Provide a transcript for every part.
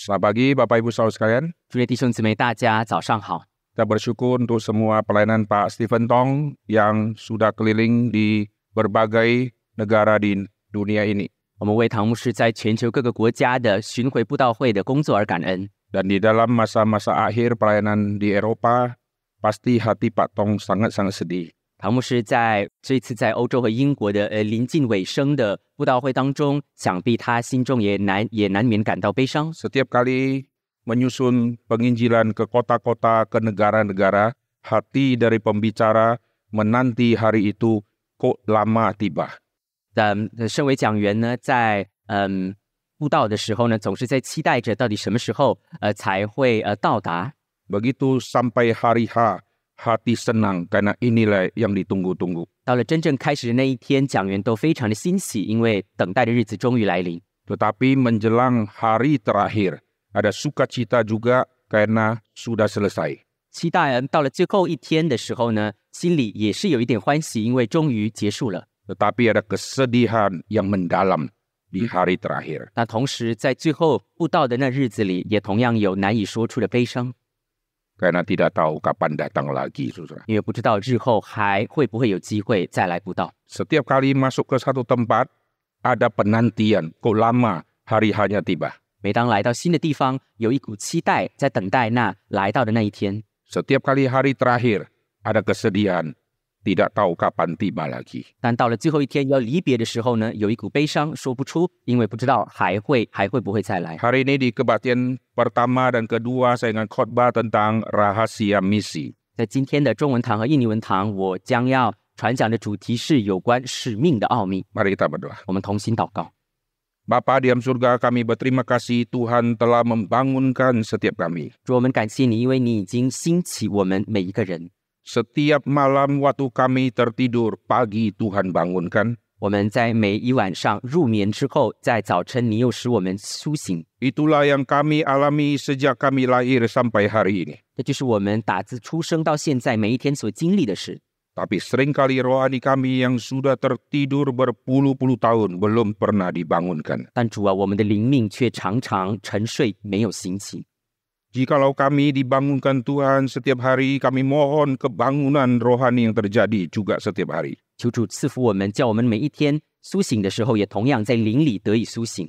Selamat pagi Bapak Ibu saudara sekalian. 诸位弟兄姊妹，大家早上好！ Kita bersyukur untuk semua pelayanan Pak Stephen Tong yang sudah keliling di berbagai negara di dunia ini. 我们为唐牧师在全球各个国家的巡回布道会的工作而感恩。 Dan di dalam masa-masa akhir pelayanan di Eropa, pasti hati Pak Tong sangat-sangat sedih. 唐牧师在这次在欧洲和英国的呃临近尾声的布道会当中，想必他心中也难 也难免感到悲伤。 Setiap kali menyusun penginjilan ke kota-kota, ke negara-negara, hati dari pembicara menanti hari itu kok lama tiba. 但呃身为讲员呢，在嗯布道的时候呢，总是在期待着到底什么时候呃才会呃到达。 Begitu sampai hari H, hati senang karena inilah yang ditunggu-tunggu. 到了真正开始的那一天，讲员都非常的欣喜，因为等待的日子终于来临。 Tetapi menjelang hari terakhir, ada sukacita juga karena sudah selesai. 期待呃到了最后一天的时候呢，心里也是有一点欢喜，因为终于结束了。 Tetapi ada kesedihan yang mendalam di hari terakhir. 那同时，在最后布道的那日子里，也同样有难以说出的悲伤， Karena tidak tahu kapan datang lagi, saudara. 因为不知道日后还会不会有机会再来布道。 Setiap kali masuk ke satu tempat, ada penantian. Kok lama hari hanya tiba. 每当来到新的地方，有一股期待在等待那来到的那一天。 Setiap kali hari terakhir, ada kesedihan. Tidak tahu kapan tiba lagi. 但到了最后一天要离别的时候呢，有一股悲伤说不出，因为不知道还会还会不会再来。 Hari ini di kebaktian pertama dan kedua saya akan khotbah tentang rahasia misi. 在今天的中文堂和印尼文堂，我将要传讲的主题是有关使命的奥秘。 Mari kita berdoa. 我们同心祷告。 Bapa di dalam surga kami berterima kasih Tuhan telah membangunkan setiap kami. 主，我们感谢你，因为你已经兴起我们每一个人。 Setiap malam waktu kami tertidur, pagi Tuhan bangunkan. 我们在每一晚上入眠之后，在早晨你又使我们苏醒， Itulah yang kami alami sejak kami lahir sampai hari ini. 这就是我们打自出生到现在每一天所经历的事。 Tapi seringkali rohani kami yang sudah tertidur berpuluh-puluh tahun belum pernah dibangunkan. 但主啊，我们的灵命却常常沉睡，没有醒起。 Jikalau kami dibangunkan Tuhan setiap hari, kami mohon kebangunan rohani yang terjadi juga setiap hari. 求主赐福我们，叫我们每一天苏醒的时候，也同样在灵里得以苏醒。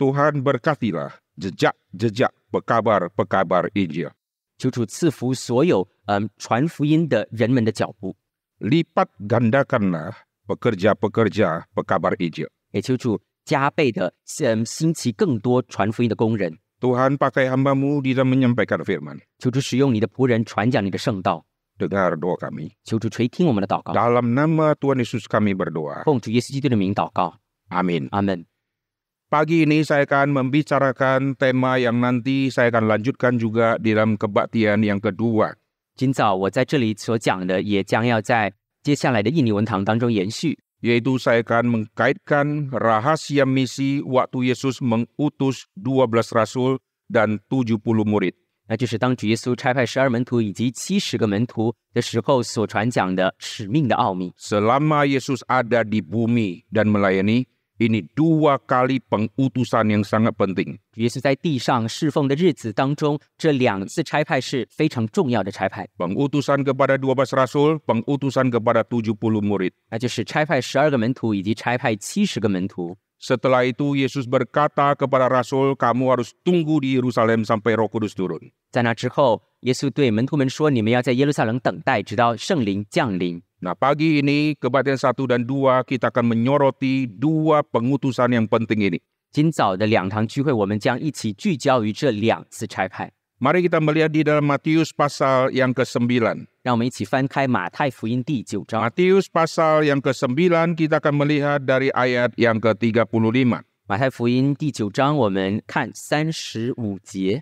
Tuhan berkatilah jejak-jejak pekabar-pekabar Injil. 求主赐福所有嗯、传福音的人们的脚步， Lipat gandakanlah pekerja-pekerja pekabar Injil. 也求主加倍的嗯兴起更多传福音的工人。 Tuhan pakai hambamu di dalam menyampaikan firman. 求主使用你的仆人传讲你的圣道， Dengar doa kami. 求主垂听我们的祷告， Dalam nama Tuhan Yesus kami berdoa. 奉主耶稣基督的名祷告， Amin. 阿门。 Pagi ini saya akan membicarakan tema yang nanti saya akan lanjutkan juga di dalam kebaktian yang kedua. 今早我在这里所讲的，也将要在接下来的印尼文堂当中延续。 Yaitu saya akan mengkaitkan rahasia misi waktu Yesus mengutus 12 rasul dan 70 murid. 那就是当主耶稣差派十二门徒以及七十个门徒的时候所传讲的使命的奥秘。 Selama Yesus ada di bumi dan melayani, ini dua kali pengutusan yang sangat penting. 主耶稣在地上侍奉的日子当中，这两次差派是非常重要的差派， Pengutusan kepada 12 rasul, pengutusan kepada 70 murid. 那就是差派十二个门徒以及差派七十个门徒。 Setelah itu Yesus berkata kepada rasul, kamu harus tunggu di Yerusalem sampai Roh Kudus turun. 在那之后，耶稣对门徒们说：“你们要在耶路撒冷等待，直到圣灵降临。 Nah, pagi ini kebaktian 1 dan 2 kita akan menyoroti dua pengutusan yang penting ini. ”今早的两堂聚会，我们将一起聚焦于这两次差派。 Mari kita melihat di dalam Matius pasal yang ke-9. 让我们一起翻开马太福音第九章。 Matius pasal yang ke-9 kita akan melihat dari ayat yang ke-35. 马太福音第九章，我们看三十五节。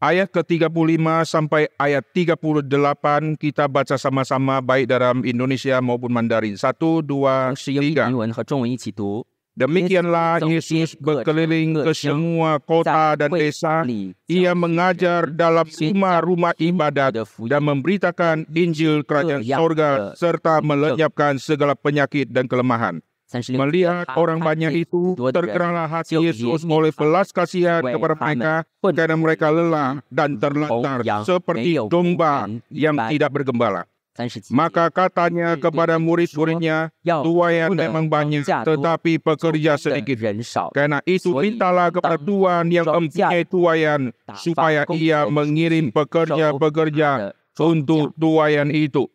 Ayat ke-35 sampai ayat 38 kita baca sama-sama baik dalam Indonesia maupun Mandarin. 1, 2, 是用英 3. 文和中文一起读。 Demikianlah Yesus berkeliling ke semua kota dan desa. 里 Ia mengajar dalam rumah-rumah ibadat 的福音 dan memberitakan Injil kerajaan sorga serta melenyapkan segala penyakit dan kelemahan. 三十六 Melihat orang banyak itu, tergeraklah hati Yesus oleh belas kasihan kepada mereka karena mereka lelah dan terlantar seperti domba yang tidak bergembala. 三十几节 Maka katanya kepada murid-muridnya, 要 tuayan memang banyak, tetapi pekerja 的 sedikit. 人少， Karena itu mintalah kepada Tuhan yang mempunyai tuayan, supaya ia mengirim pekerja-pekerja 的 untuk tuayan itu.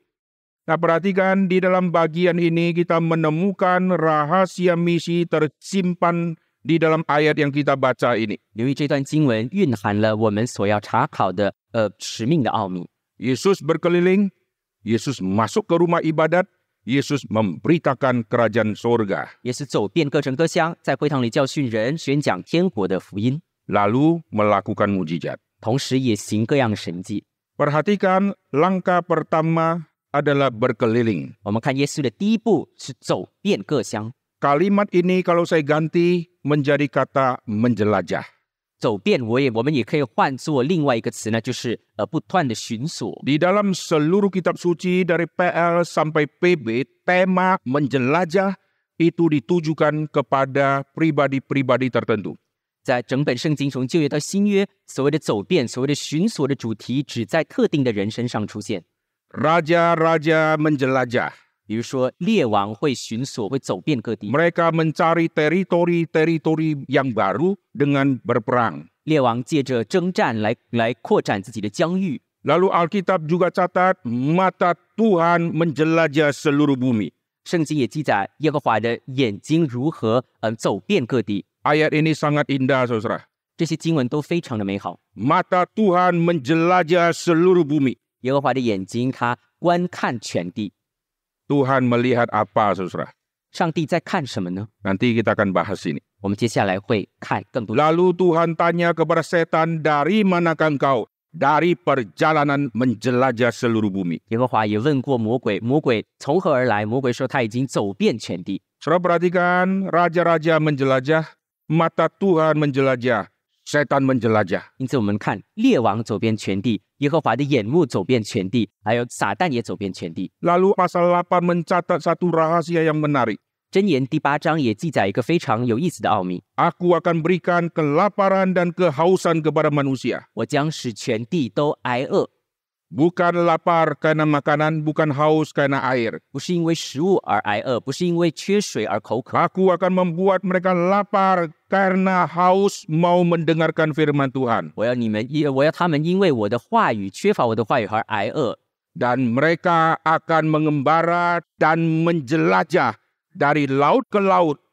Nah perhatikan di dalam bagian ini kita menemukan rahasia misi tersimpan di dalam ayat yang kita baca ini. 留意这段经文蕴含了我们所要查考的呃使命的奥秘。 Yesus berkeliling, Yesus masuk ke rumah ibadat, Yesus memberitakan kerajaan sorga. 也是走遍各城各乡，在会堂里教训人，宣讲天国的福音， lalu melakukan mujizat. 同时也行各样的神迹。 Perhatikan langkah pertama adalah berkeliling. 我们看耶稣的第一步是走遍各乡， Kalimat ini kalau saya ganti menjadi kata menjelajah. 走遍我也我们也可以换作另外一个词呢，就是呃不断的寻索。 Di dalam seluruh kitab suci dari PL sampai PB, tema menjelajah itu ditujukan kepada pribadi-pribadi tertentu. 在整本圣经从旧约到新约，所谓的走遍、所谓的寻索的主题，只在特定的人身上出现。 Raja-raja menjelajah. 比如说，列王会寻索，会走遍各地。 Mereka mencari teritori-teritori yang baru dengan berperang. 列王借着征战来来扩展自己的疆域。 Lalu Alkitab juga catat mata Tuhan menjelajah seluruh bumi. 圣经也记载耶和华的眼睛如何嗯、呃走遍各地。 Ayat ini sangat indah saudara. 这些经文都非常的美好。 Mata Tuhan menjelajah seluruh bumi. 耶和华的眼睛，他观看全地。 Tuhan melihat apa saudara? 上帝在看什么呢？ Nanti kita akan bahas ini. 我们接下来会看更多。 Lalu Tuhan tanya kepada setan, dari manakah engkau? Dari perjalanan menjelajah seluruh bumi. 耶和华也问过魔鬼，魔鬼从何而来？魔鬼说他已经走遍全地。 Saudara perhatikan, raja-raja menjelajah, mata Tuhan menjelajah, setan menjelajah. 因此，我们看列王走遍全地，耶和华的眼目走遍全地，还有撒旦也走遍全地。 Lalu pasal 8 mencatat satu rahasia yang menarik. 箴言第八章也记载一个非常有意思的奥秘： Aku akan berikan kelaparan dan kehausan kepada manusia. 我将使全地都挨饿， Bukan lapar karena makanan, bukan haus karena air. 不是因为食物而挨饿，不是因为缺水而口渴， Aku akan membuat mereka lapar karena haus mau mendengarkan firman Tuhan. 我要你们因我要他们因为我的话语缺乏我的话语而挨饿， Dan mereka akan mengembara dan menjelajah dari laut ke laut,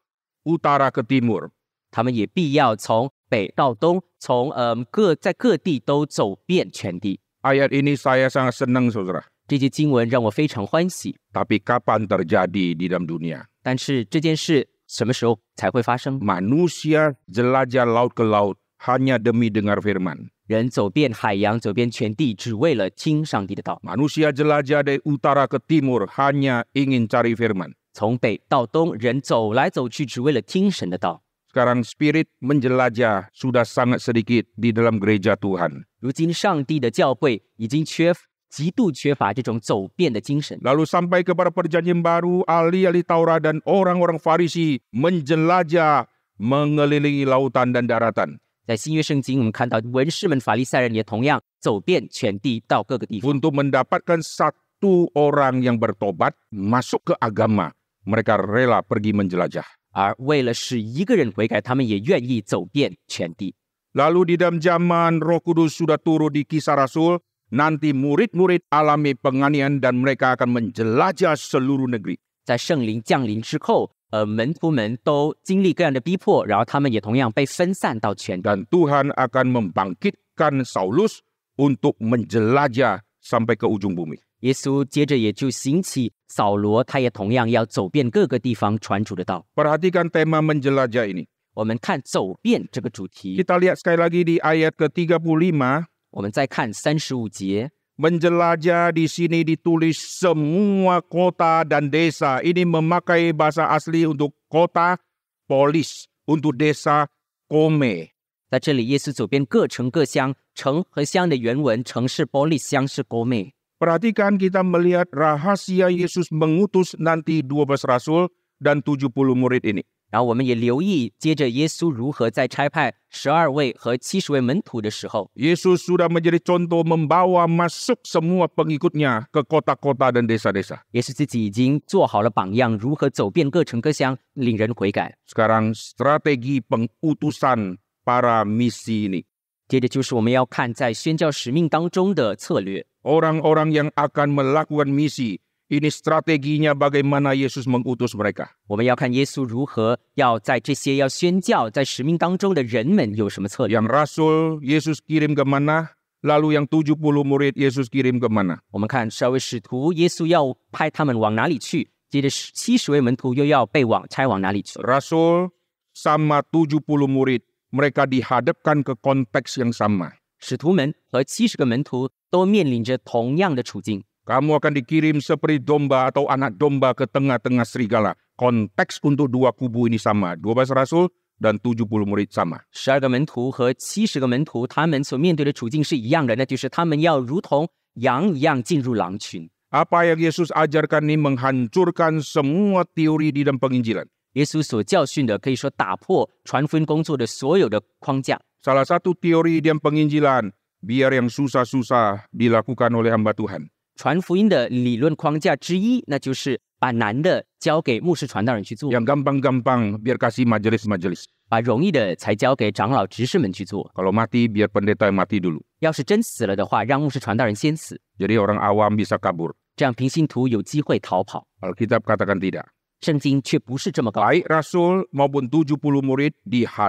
utara ke timur. 他们也必要从北到东，从嗯、各在各地都走遍全地。 Ayat ini saya sangat senang saudara. 这些经文让我非常欢喜， Tapi kapan terjadi di dalam dunia? 但是这件事什么时候才会发生？ Manusia jelajah laut ke laut hanya demi dengar firman. 人走遍海洋，走遍全地，只为了听上帝的道。 Manusia jelajah dari utara ke timur hanya ingin cari firman. 从北到东，人走来走去，只为了听神的道。 Sekarang spirit menjelajah sudah sangat sedikit di dalam gereja Tuhan. 如今，上帝的教会已经缺极度缺乏这种走遍的精神。 Lalu sampai kepada perjanjian baru, ahli-ahli Taurat dan orang-orang Farisi menjelajah mengelilingi lautan dan daratan. 在新约圣经，我们看到文士们、法利赛人也同样走遍全地，到各个地方， Untuk mendapatkan satu orang yang bertobat masuk ke agama, mereka rela pergi menjelajah. 而为了使一个人悔改，他们也愿意走遍全地。 Lalu di dalam zaman Roh Kudus sudah turun di kisah Rasul, nanti murid-murid alami penganian dan mereka akan menjelajah seluruh negeri. 在圣灵降临之后，呃，门徒们都经历各样的逼迫，然后他们也同样被分散到全地。 Dan Tuhan akan membangkitkan Saulus untuk menjelajah sampai ke ujung bumi. 耶稣接着也就兴起扫罗，他也同样要走遍各个地方传主的道。 Perhatikan tema menjelajah ini. 我们看“走遍”这个主题， Kita lihat sekali lagi di ayat ke-35. 我们再看三十五节， Menjelajah di sini ditulis semua kota dan desa. Ini memakai bahasa asli untuk kota, polis. Untuk desa, kome. 在这里，耶稣走遍各城各乡，城和乡的原文城市 b o l i 乡是 g o m e Perhatikan kita melihat rahasia Yesus mengutus nanti 12 rasul dan 70 murid ini. 然后我们也留意，接着耶稣如何在差派十二位和七十位门徒的时候， Yesus sudah menjadi contoh membawa masuk semua pengikutnya ke kota-kota dan desa-desa. 也是自己已经做好了榜样，如何走遍各城各乡，令人悔改。 Sekarang strategi pengutusan para misi ini. 接着就是我们要看在宣教使命当中的策略， Orang-orang yang akan melakukan misi, ini strateginya bagaimana Yesus mengutus mereka. 我们要看耶稣如何要在这些要宣教在使命当中的人们有什么策略。 Yang rasul Yesus kirim ke mana, lalu yang 70 murid Yesus kirim ke mana. 我们看十二位使徒，耶稣要派他们往哪里去？接着七十位门徒又要被往差往哪里去？ Rasul sama 70 murid, mereka dihadapkan ke konteks yang sama. 使徒们和七十个门徒都面临着同样的处境， Kamu akan dikirim seperti domba atau anak domba ke tengah-tengah serigala. Konteks untuk dua kubu ini sama. 12 rasul dan 70 murid sama. 十二个门徒和七十个门徒，他们所面对的处境是一样的，那就是他们要如同羊一样进入狼群。 Apa yang Yesus ajarkan ini menghancurkan semua teori di dalam penginjilan. 耶稣所教训的，可以说打破传福音工作的所有的框架。 Salah satu teori di dalam penginjilan, biar yang susah-susah dilakukan oleh hamba Tuhan. 传福音的理论框架之一，那就是把难的交给牧师传道人去做， Yang gampang-gampang biar kasih majelis-majelis. 把容易的才交给长老执事们去做。 Kalau mati biar pendeta yang mati dulu. 要是真死了的话，让牧师传道人先死， Jadi orang awam bisa kabur. 这样平信徒有机会逃跑。 Alkitab katakan tidak. 圣经却不是这么搞。 Baik Rasul maupun 70 murid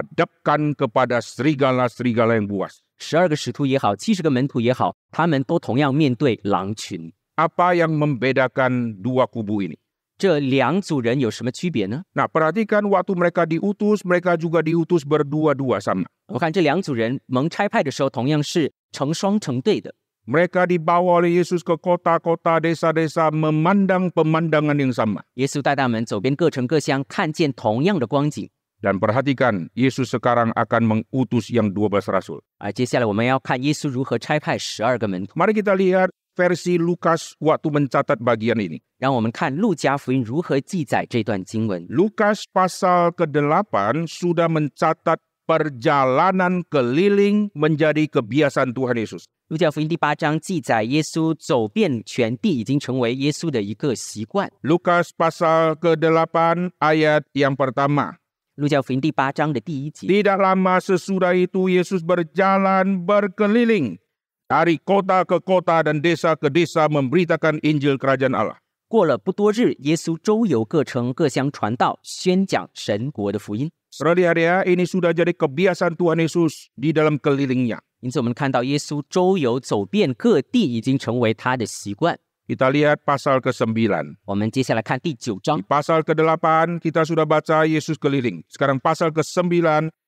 dihadapkan kepada serigala-serigala yang buas. 十二个使徒也好，七十个门徒也好，他们都同样面对狼群。 Apa yang membedakan dua kubu ini? 这两组人有什么区别呢？ Nah, perhatikan waktu mereka diutus, mereka juga diutus berdua-dua sama. 我看这两组人蒙差派的时候，同样是成双成对的。 Mereka dibawa oleh Yesus ke kota-kota, desa-desa, memandang pemandangan yang sama. 耶稣带他们走遍各城各乡，看见同样的光景。 Dan perhatikan, Yesus sekarang akan mengutus yang 12 rasul. 而啊接下来我们要看耶稣如何差派十二个门徒。 Mari kita lihat versi Lukas waktu mencatat bagian ini. 让我们看路加福音如何记载这段经文。 Lukas pasal ke-8 sudah mencatat perjalanan keliling menjadi kebiasaan Tuhan Yesus. 路加福音第八章记载，耶稣走遍全地已经成为耶稣的一个习惯。 Lukas pasal ke-8 ayat yang pertama. 路加福音第八章的第一节。 Tidak lama sesudah itu Yesus berjalan berkeliling dari kota ke kota dan desa ke desa memberitakan Injil Kerajaan Allah. 过了不多日，耶稣周游各城各乡传道，宣讲神国的福音。 Saudara-saudara, ya, ini sudah jadi kebiasaan Tuhan Yesus di dalam kelilingnya. 因此，我们看到耶稣周游走遍各地，已经成为他的习惯。 Kita lihat pasal ke-9. 我们接下来看第九章 Di，pasal ke-8 kita sudah baca Yesus keliling. Sekarang pasal ke-9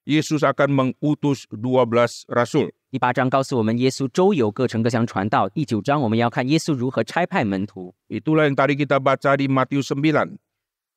Yesus akan mengutus 12 rasul. 第八章告诉我们耶稣周游各城各乡传道。第九章，我们要看耶稣如何差派门徒。 Itulah yang tadi kita baca di Matius 9.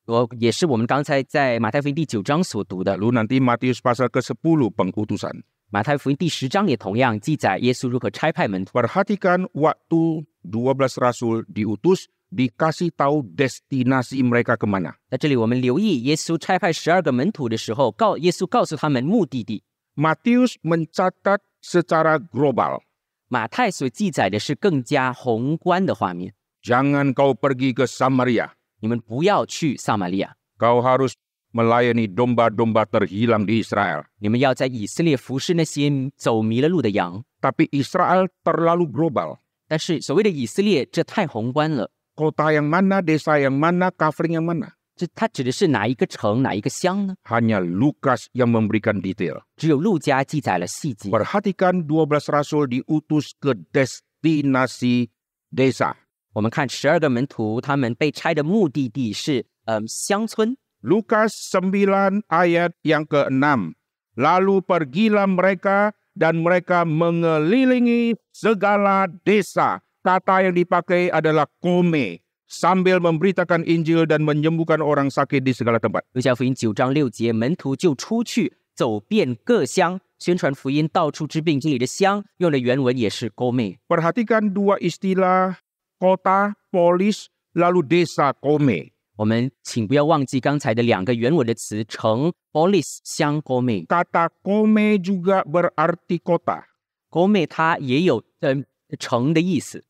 我哦也是我们刚才在马太福音第九章所读的， Lalu nanti Matius pasal ke-10 pengutusan. 马太福音第十章也同样记载耶稣如何差派门徒。 Perhatikan waktu 12 rasul diutus dikasih tahu destinasi mereka kemana. 在这里，我们留意耶稣差派十二个门徒的时候，告耶稣告诉他们目的地。 Matius mencatat secara global. 马太所记载的是更加宏观的画面。 Jangan kau pergi ke Samaria. 你们不要去撒玛利亚， Kau harus melayani domba-domba terhilang di Israel. 你们要在以色列服侍那些走迷了路的羊。 tapi Israel terlalu global. 但是所谓的以色列，这太宏观了， Kota yang mana, desa yang mana, covering yang mana. 这它指的是哪一个城、哪一个乡呢？ Hanya Lukas yang memberikan detail. 只有路加记载了细节。 Perhatikan 12 rasul diutus ke destinasi desa. 我们看十二个门徒，他们被拆的目的地是嗯、乡村。 Lukas 9 ayat yang ke-6. Lalu pergilah mereka dan mereka mengelilingi segala desa. Kata yang dipakai adalah kome. Sambil memberitakan Injil dan menyembuhkan orang sakit di segala tempat. 路加福音九章六节，门徒就出去走遍各乡，宣传福音，到处治病。这里的乡用的原文也是 g o m e Perhatikan dua istilah kota, polis, lalu desa, kome. 我们请不要忘记刚才的两个原文的词“城 ”（polis） 相 “gome”。 Kata kome juga berarti kota, gome 它也有呃城的意思，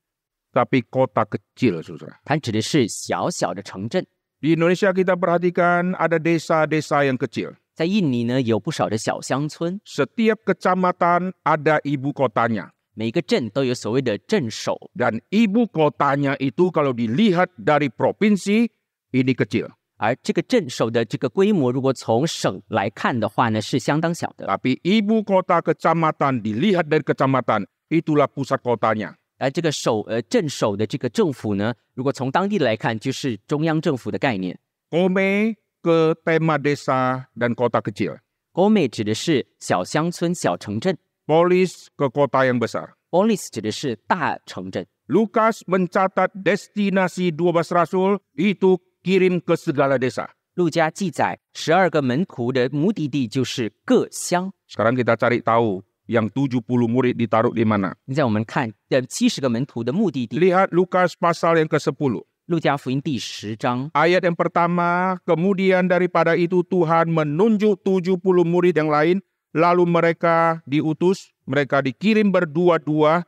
tapi kota kecil, saudara. 它指的是小小的城镇。 Di Indonesia kita perhatikan ada desa-desa yang kecil. 在印尼呢，有不少的小乡村， Setiap kecamatan ada ibu kotanya. 每个镇都有所谓的镇守。 Dan ibu kotanya itu kalau dilihat dari provinsi, ini kecil. 而这个镇守的这个规模，如果从省来看的话呢，是相当小的。 Tapi ibu kota kecamatan dilihat dari kecamatan, itulah pusat kotanya. 而这个守呃镇守的这个政府呢，如果从当地来看，就是中央政府的概念。 Kome ke tema desa dan kota kecil. Gome 指的是小乡村、小城镇 Polis ke kota yang besar. ，Polis 指的是大城镇。 Lukas mencatat destinasi 12 rasul itu kirim ke segala desa. 路加记载，十二个门徒的目的地就是各乡。 Sekarang kita cari tahu yang 70 murid ditaruh di mana. 现在我们看，呃，七十个门徒的目的地，《 Lihat Lukas pasal yang ke-10. 路加福音》第十章 Ayat yang pertama, kemudian daripada itu Tuhan menunjuk 70 murid yang lain, lalu mereka diutus, mereka dikirim berdua-dua,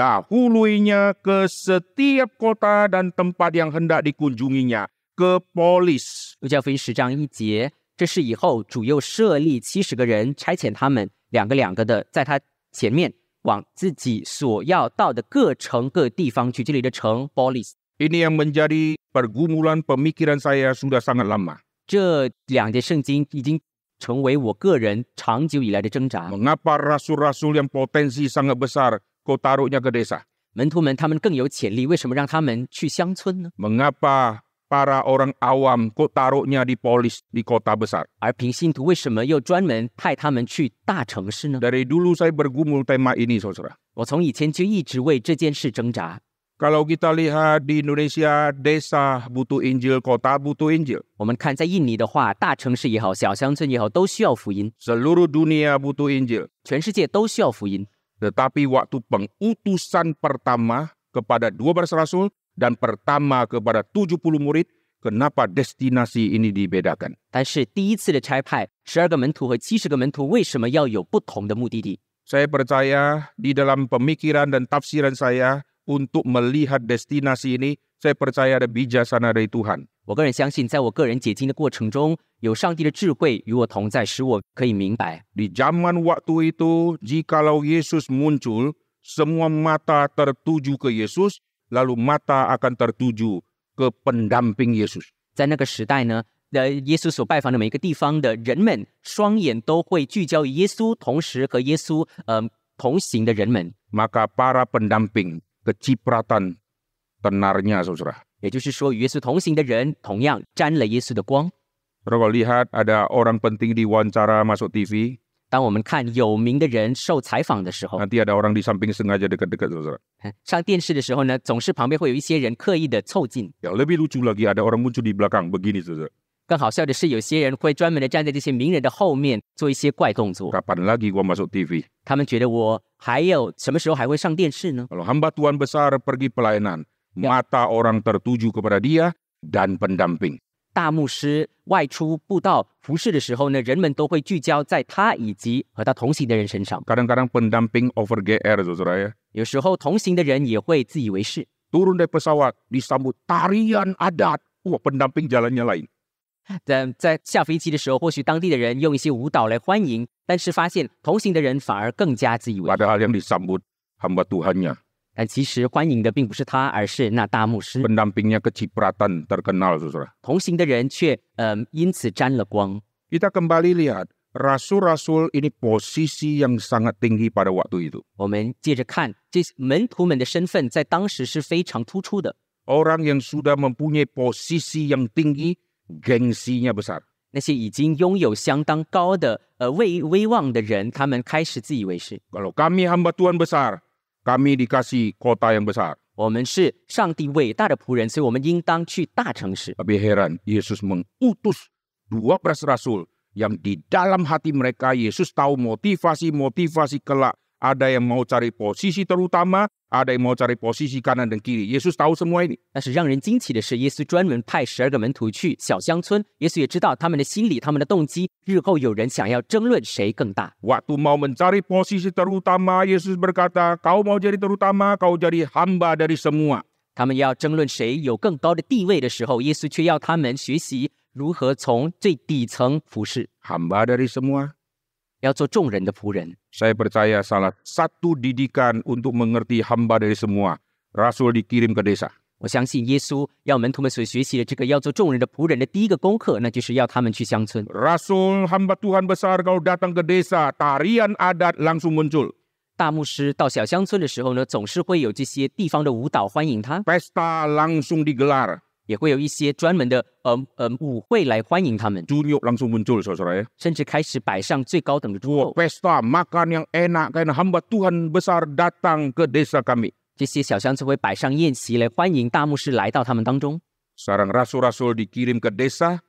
mendahuluinya ke setiap kota dan tempat yang hendak dikunjunginya, ke polis. 路加福音十章一节，这是以后主又设立七十个人，差遣他们两个两个的在他前面，往自己所要到的各城各地方去。这里的城 （polis）， Ini yang menjadi pergumulan pemikiran saya sudah sangat lama. 这两节圣经已经成为我个人长久以来的挣扎。 Mengapa rasul-rasul yang potensi sangat besar kau taruhnya ke desa? 门徒们他们更有潜力，为什么让他们去乡村呢？ Mengapa para orang awam kau taruhnya di polis di kota besar? 而平信徒为什么又专门派他们去大城市呢？ Dari dulu saya bergumul tema ini, saudara. 我从以前就一直为这件事挣扎。 Kalau kita lihat di Indonesia, desa butuh Injil, kota butuh Injil. 我们看，在印尼的话，大城市也好，小乡村也好，都需要福音， Seluruh dunia butuh Injil. 全世界都需要福音。 Tetapi waktu pengutusan pertama kepada 12 rasul dan pertama kepada 70 murid, kenapa destinasi ini dibedakan? 但是第一次的差派，十二个门徒和七十个门徒为什么要有不同的目的地？ Saya percaya di dalam pemikiran dan tafsiran saya untuk melihat destinasi ini, saya percaya ada bijaksana dari Tuhan. 我个人相信，在我个人解经的过程中，有上帝的智慧与我同在，使我可以明白， Di zaman waktu itu, jikalau Yesus muncul, semua mata tertuju ke Yesus, lalu mata akan tertuju ke pendamping Yesus. 在那个时代呢，呃，耶稣所拜访的每一个地方的人们，双眼都会聚焦于耶稣，同时和耶稣，嗯、同行的人们， Maka para pendamping kecipratan tenarnya, saudara. 也就是说，与耶稣同行的人同样沾了耶稣的光。 Saudara kalau lihat ada orang penting diwawancara masuk TV, 当我们看有名的人受采访的时候， nanti ada orang di samping sengaja dekat-dekat, saudara. 上电视的时候呢，总是旁边会有一些人刻意的凑近。 Yang Ya, lebih lucu lagi ada orang muncul di belakang begini, saudara. 更好笑的是，有些人会专门的站在这些名人的后面做一些怪动作。 Kapan lagi gua masuk TV? 他们觉得我还有什么时候还会上电视呢？ Kalau hamba Tuhan besar pergi pelayanan, mata orang tertuju kepada dia dan pendamping. 大牧师外出布道服饰的时候呢，人们都会聚焦在他以及和他同行的人身上。 Kadang-kadang pendamping over GR, saudara ya. 有时候同行的人也会自以为是， Turun dari pesawat, disambut tarian adat. Wah, pendamping jalannya lain. 在在下飞机的时候，或许当地的人用一些舞蹈来欢迎，但是发现同行的人反而更加自以为是。 Padahal yang disambut hamba Tuhannya. 但其实欢迎的并不是他，而是那大牧师。 Pendampingnya kecipratan terkenal, saudara. 同行的人却嗯、因此沾了光。 Kita kembali lihat, rasul-rasul ini posisi yang sangat tinggi pada waktu itu. 我们接着看，这些门徒们的身份在当时是非常突出的。 Orang yang sudah mempunyai posisi yang tinggi, gengsinya besar. 那些已经拥有相当高的呃威威望的人，他们开始自以为是。 Kalau kami hamba Tuhan besar, kami dikasih kota yang besar. 我们是上帝伟大的仆人，所以我们应当去大城市。 Tapi heran, Yesus mengutus 12 rasul yang di dalam hati mereka Yesus tahu motivasi-motivasi kelak ada yang mau cari posisi terutama, ada yang mau cari posisi kanan dan kiri. Yesus tahu semua ini. 但是让人惊奇的是，耶稣专门派十二个门徒去小乡村。耶稣也知道他们的心理、他们的动机。日后有人想要争论谁更大， Waktu mau mencari posisi terutama, Yesus berkata, "Kau mau jadi terutama, kau jadi hamba dari semua." 他们要争论谁有更高的地位的时候，耶稣却要他们学习如何从最底层服侍， Hamba dari semua. 要做众人的仆人。 Saya percaya salah satu didikan untuk mengerti hamba dari semua, Rasul dikirim ke desa. 我相信耶稣要门徒们所学习的这个要做众人的仆人的第一个功课，那就是要他们去乡村。 Rasul hamba Tuhan besar kalau datang ke desa, tarian adat langsung muncul. 大牧师到小乡村的时候呢，总是会有这些地方的舞蹈欢迎他， Pesta langsung digelar, 也会有一些专门的呃呃舞会来欢迎他们， junyuk langsung muncul saudara ya. 甚至开始摆上最高等的 Wah, 桌后。 pesta makan yang enak karena hamba Tuhan besar datang ke desa kami. 这些小乡村会摆上宴席来欢迎大牧师来到他们当中。 Sekarang rasul-rasul dikirim ke desa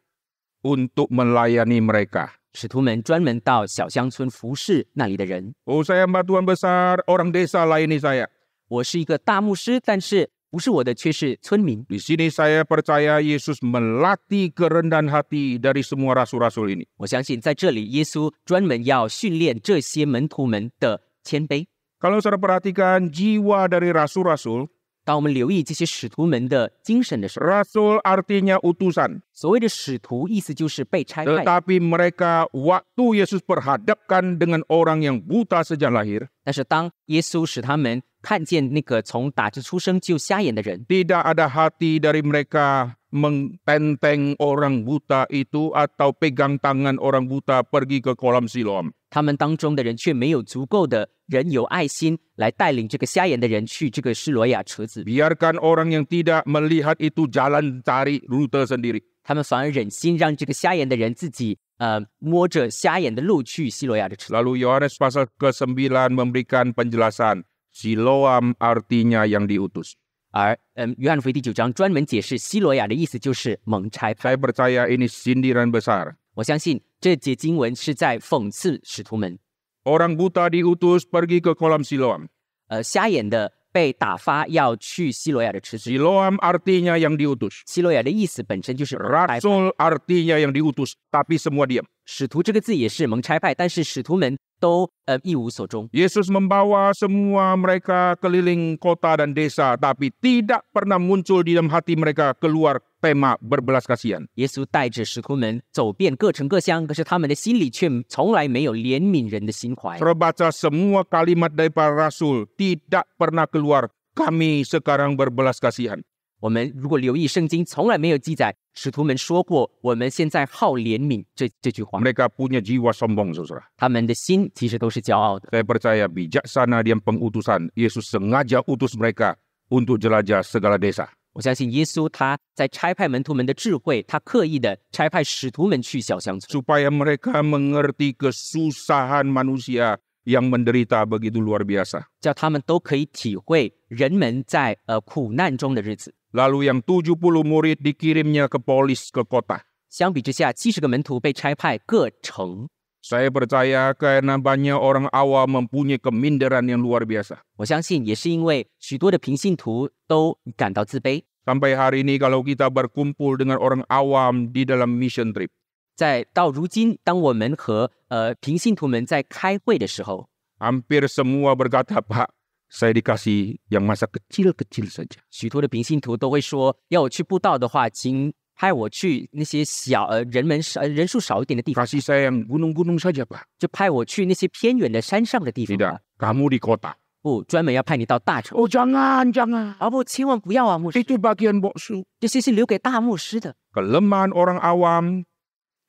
untuk melayani mereka. 使徒们专门到小乡村服侍那里的人。 Oh saya hamba Tuhan besar, orang desa layani saya. 我是一个大牧师，但是不是我的却是村民。 Di sini saya percaya Yesus melatih kerendahan hati dari semua rasul-rasul ini. 我相信在这里，耶稣专门要训练这些门徒们的谦卑。 Kalau saudara perhatikan jiwa dari rasul-rasul, 当我们留意这些使徒们的精神的时候， rasul artinya utusan. 所谓的使徒，意思就是被差派。 Tetapi mereka waktu Yesus perhadapkan dengan orang yang buta sejak lahir, 但是当耶稣使他们看见那个从打着出生就瞎眼的人， tidak ada hati dari mereka mententeng orang buta itu atau pegang tangan orang buta pergi ke kolam Siloam. 他们当中的人却没有足够的人有爱心来带领这个瞎眼的人去这个施罗亚池子， Biarkan orang yang tidak melihat itu jalan cari rute sendiri. 他们反而忍心让这个瞎眼的人自己呃摸着瞎眼的路去西罗亚的池。 Lalu Yohanes pasal ke-9 memberikan penjelasan. Siloam artinya yang diutus. 而嗯，约翰福音第九章专门解释西罗亚的意思就是蒙差派。 Saya percaya ini sindiran besar. 我相信这节经文是在讽刺使徒们， Orang buta diutus pergi ke kolam Siloam. 呃，瞎眼的被打发要去西罗亚的池子。 Siloam artinya yang diutus. 西罗亚的意思本身就是蒙差派， Rasul artinya yang diutus, tapi semua diam. 使徒这个字也是蒙差派，但是使徒们都呃一无所终。 Yesus membawa semua mereka keliling kota dan desa, tapi tidak pernah muncul di dalam hati mereka keluar tema berbelas kasihan. 耶稣带着使徒们走遍各城各乡，可是他们的心里却从来没有怜悯人的心怀。 Saudara baca semua kalimat dari para rasul tidak pernah keluar. Kami sekarang berbelas kasihan. 我们如果留意圣经，从来没有记载使徒们说过“我们现在好怜悯这”这句话。 Mereka punya jiwa sombong, saudara. 他们的心其实都是骄傲的。 Saya percaya bijaksana dia pengutusan. Yesus sengaja utus mereka untuk jelajah segala desa. 我相信耶稣他在差派门徒们的智慧，他刻意的差派使徒们去小乡村， Supaya mereka mengerti kesusahan manusia yang menderita begitu luar biasa. 叫他们都可以体会人们在呃苦难中的日子。 Lalu yang 70 murid dikirimnya ke polis ke kota. 相比之下，七十个门徒被差派各城。 Saya percaya karena banyak orang awam mempunyai keminderan yang luar biasa. 我相信也是因为许多的平信徒都感到自卑， Sampai hari ini kalau kita berkumpul dengan orang awam di dalam mission trip, 在到如今，当我们和呃平信徒们在开会的时候， hampir semua berkata, Pak, saya dikasih yang masa kecil-kecil saja. 许多的平信徒都会说，要我去布道的话，请派我去那些小呃人们少呃人数少一点的地方， Kasih saya yang gunung-gunung saja, Pak. 就派我去那些偏远的山上的地方 Tidak, 吧。 kamu di kota. 不，专门要派你到大城。 Oh, jangan, jangan. 啊不，千万不要啊，牧师， Itu bagian boksu. 这些是留给大牧师的。 Kelemahan orang awam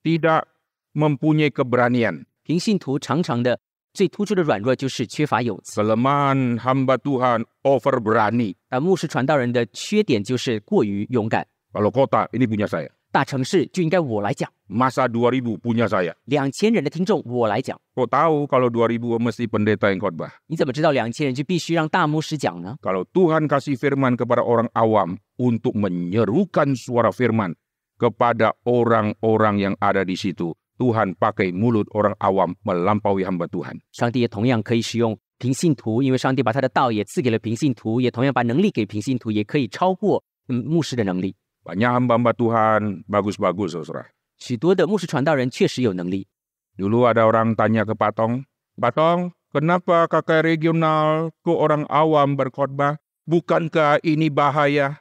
tidak mempunyai keberanian. 平信徒常常的最突出的软弱就是缺乏勇气， Kelemahan hamba Tuhan over berani. 而啊牧师传道人的缺点就是过于勇敢。 Kalau kota, ini punya saya. 大城市就应该我来讲， Masa 2000 punya saya. 两千人的听众我来讲。 Kau tahu kalau 2000 mesti pendeta yang khotbah. 你怎么知道两千人就必须让大牧师讲呢？ Kalau Tuhan kasih firman kepada orang awam untuk menyerukan suara firman kepada orang-orang yang ada di situ, Tuhan pakai mulut orang awam melampaui hamba Tuhan. 上帝也同样可以使用平信徒，因为上帝把他的道也赐给了平信徒，也同样把能力给平信徒，也可以超过嗯牧师的能力。 Banyak hamba-hamba Tuhan bagus-bagus saudara. 许多的牧师传道人确实有能力。 Dulu ada orang tanya ke Patong, Patong, kenapa kakak regional ke orang awam berkhotbah? Bukankah ini bahaya?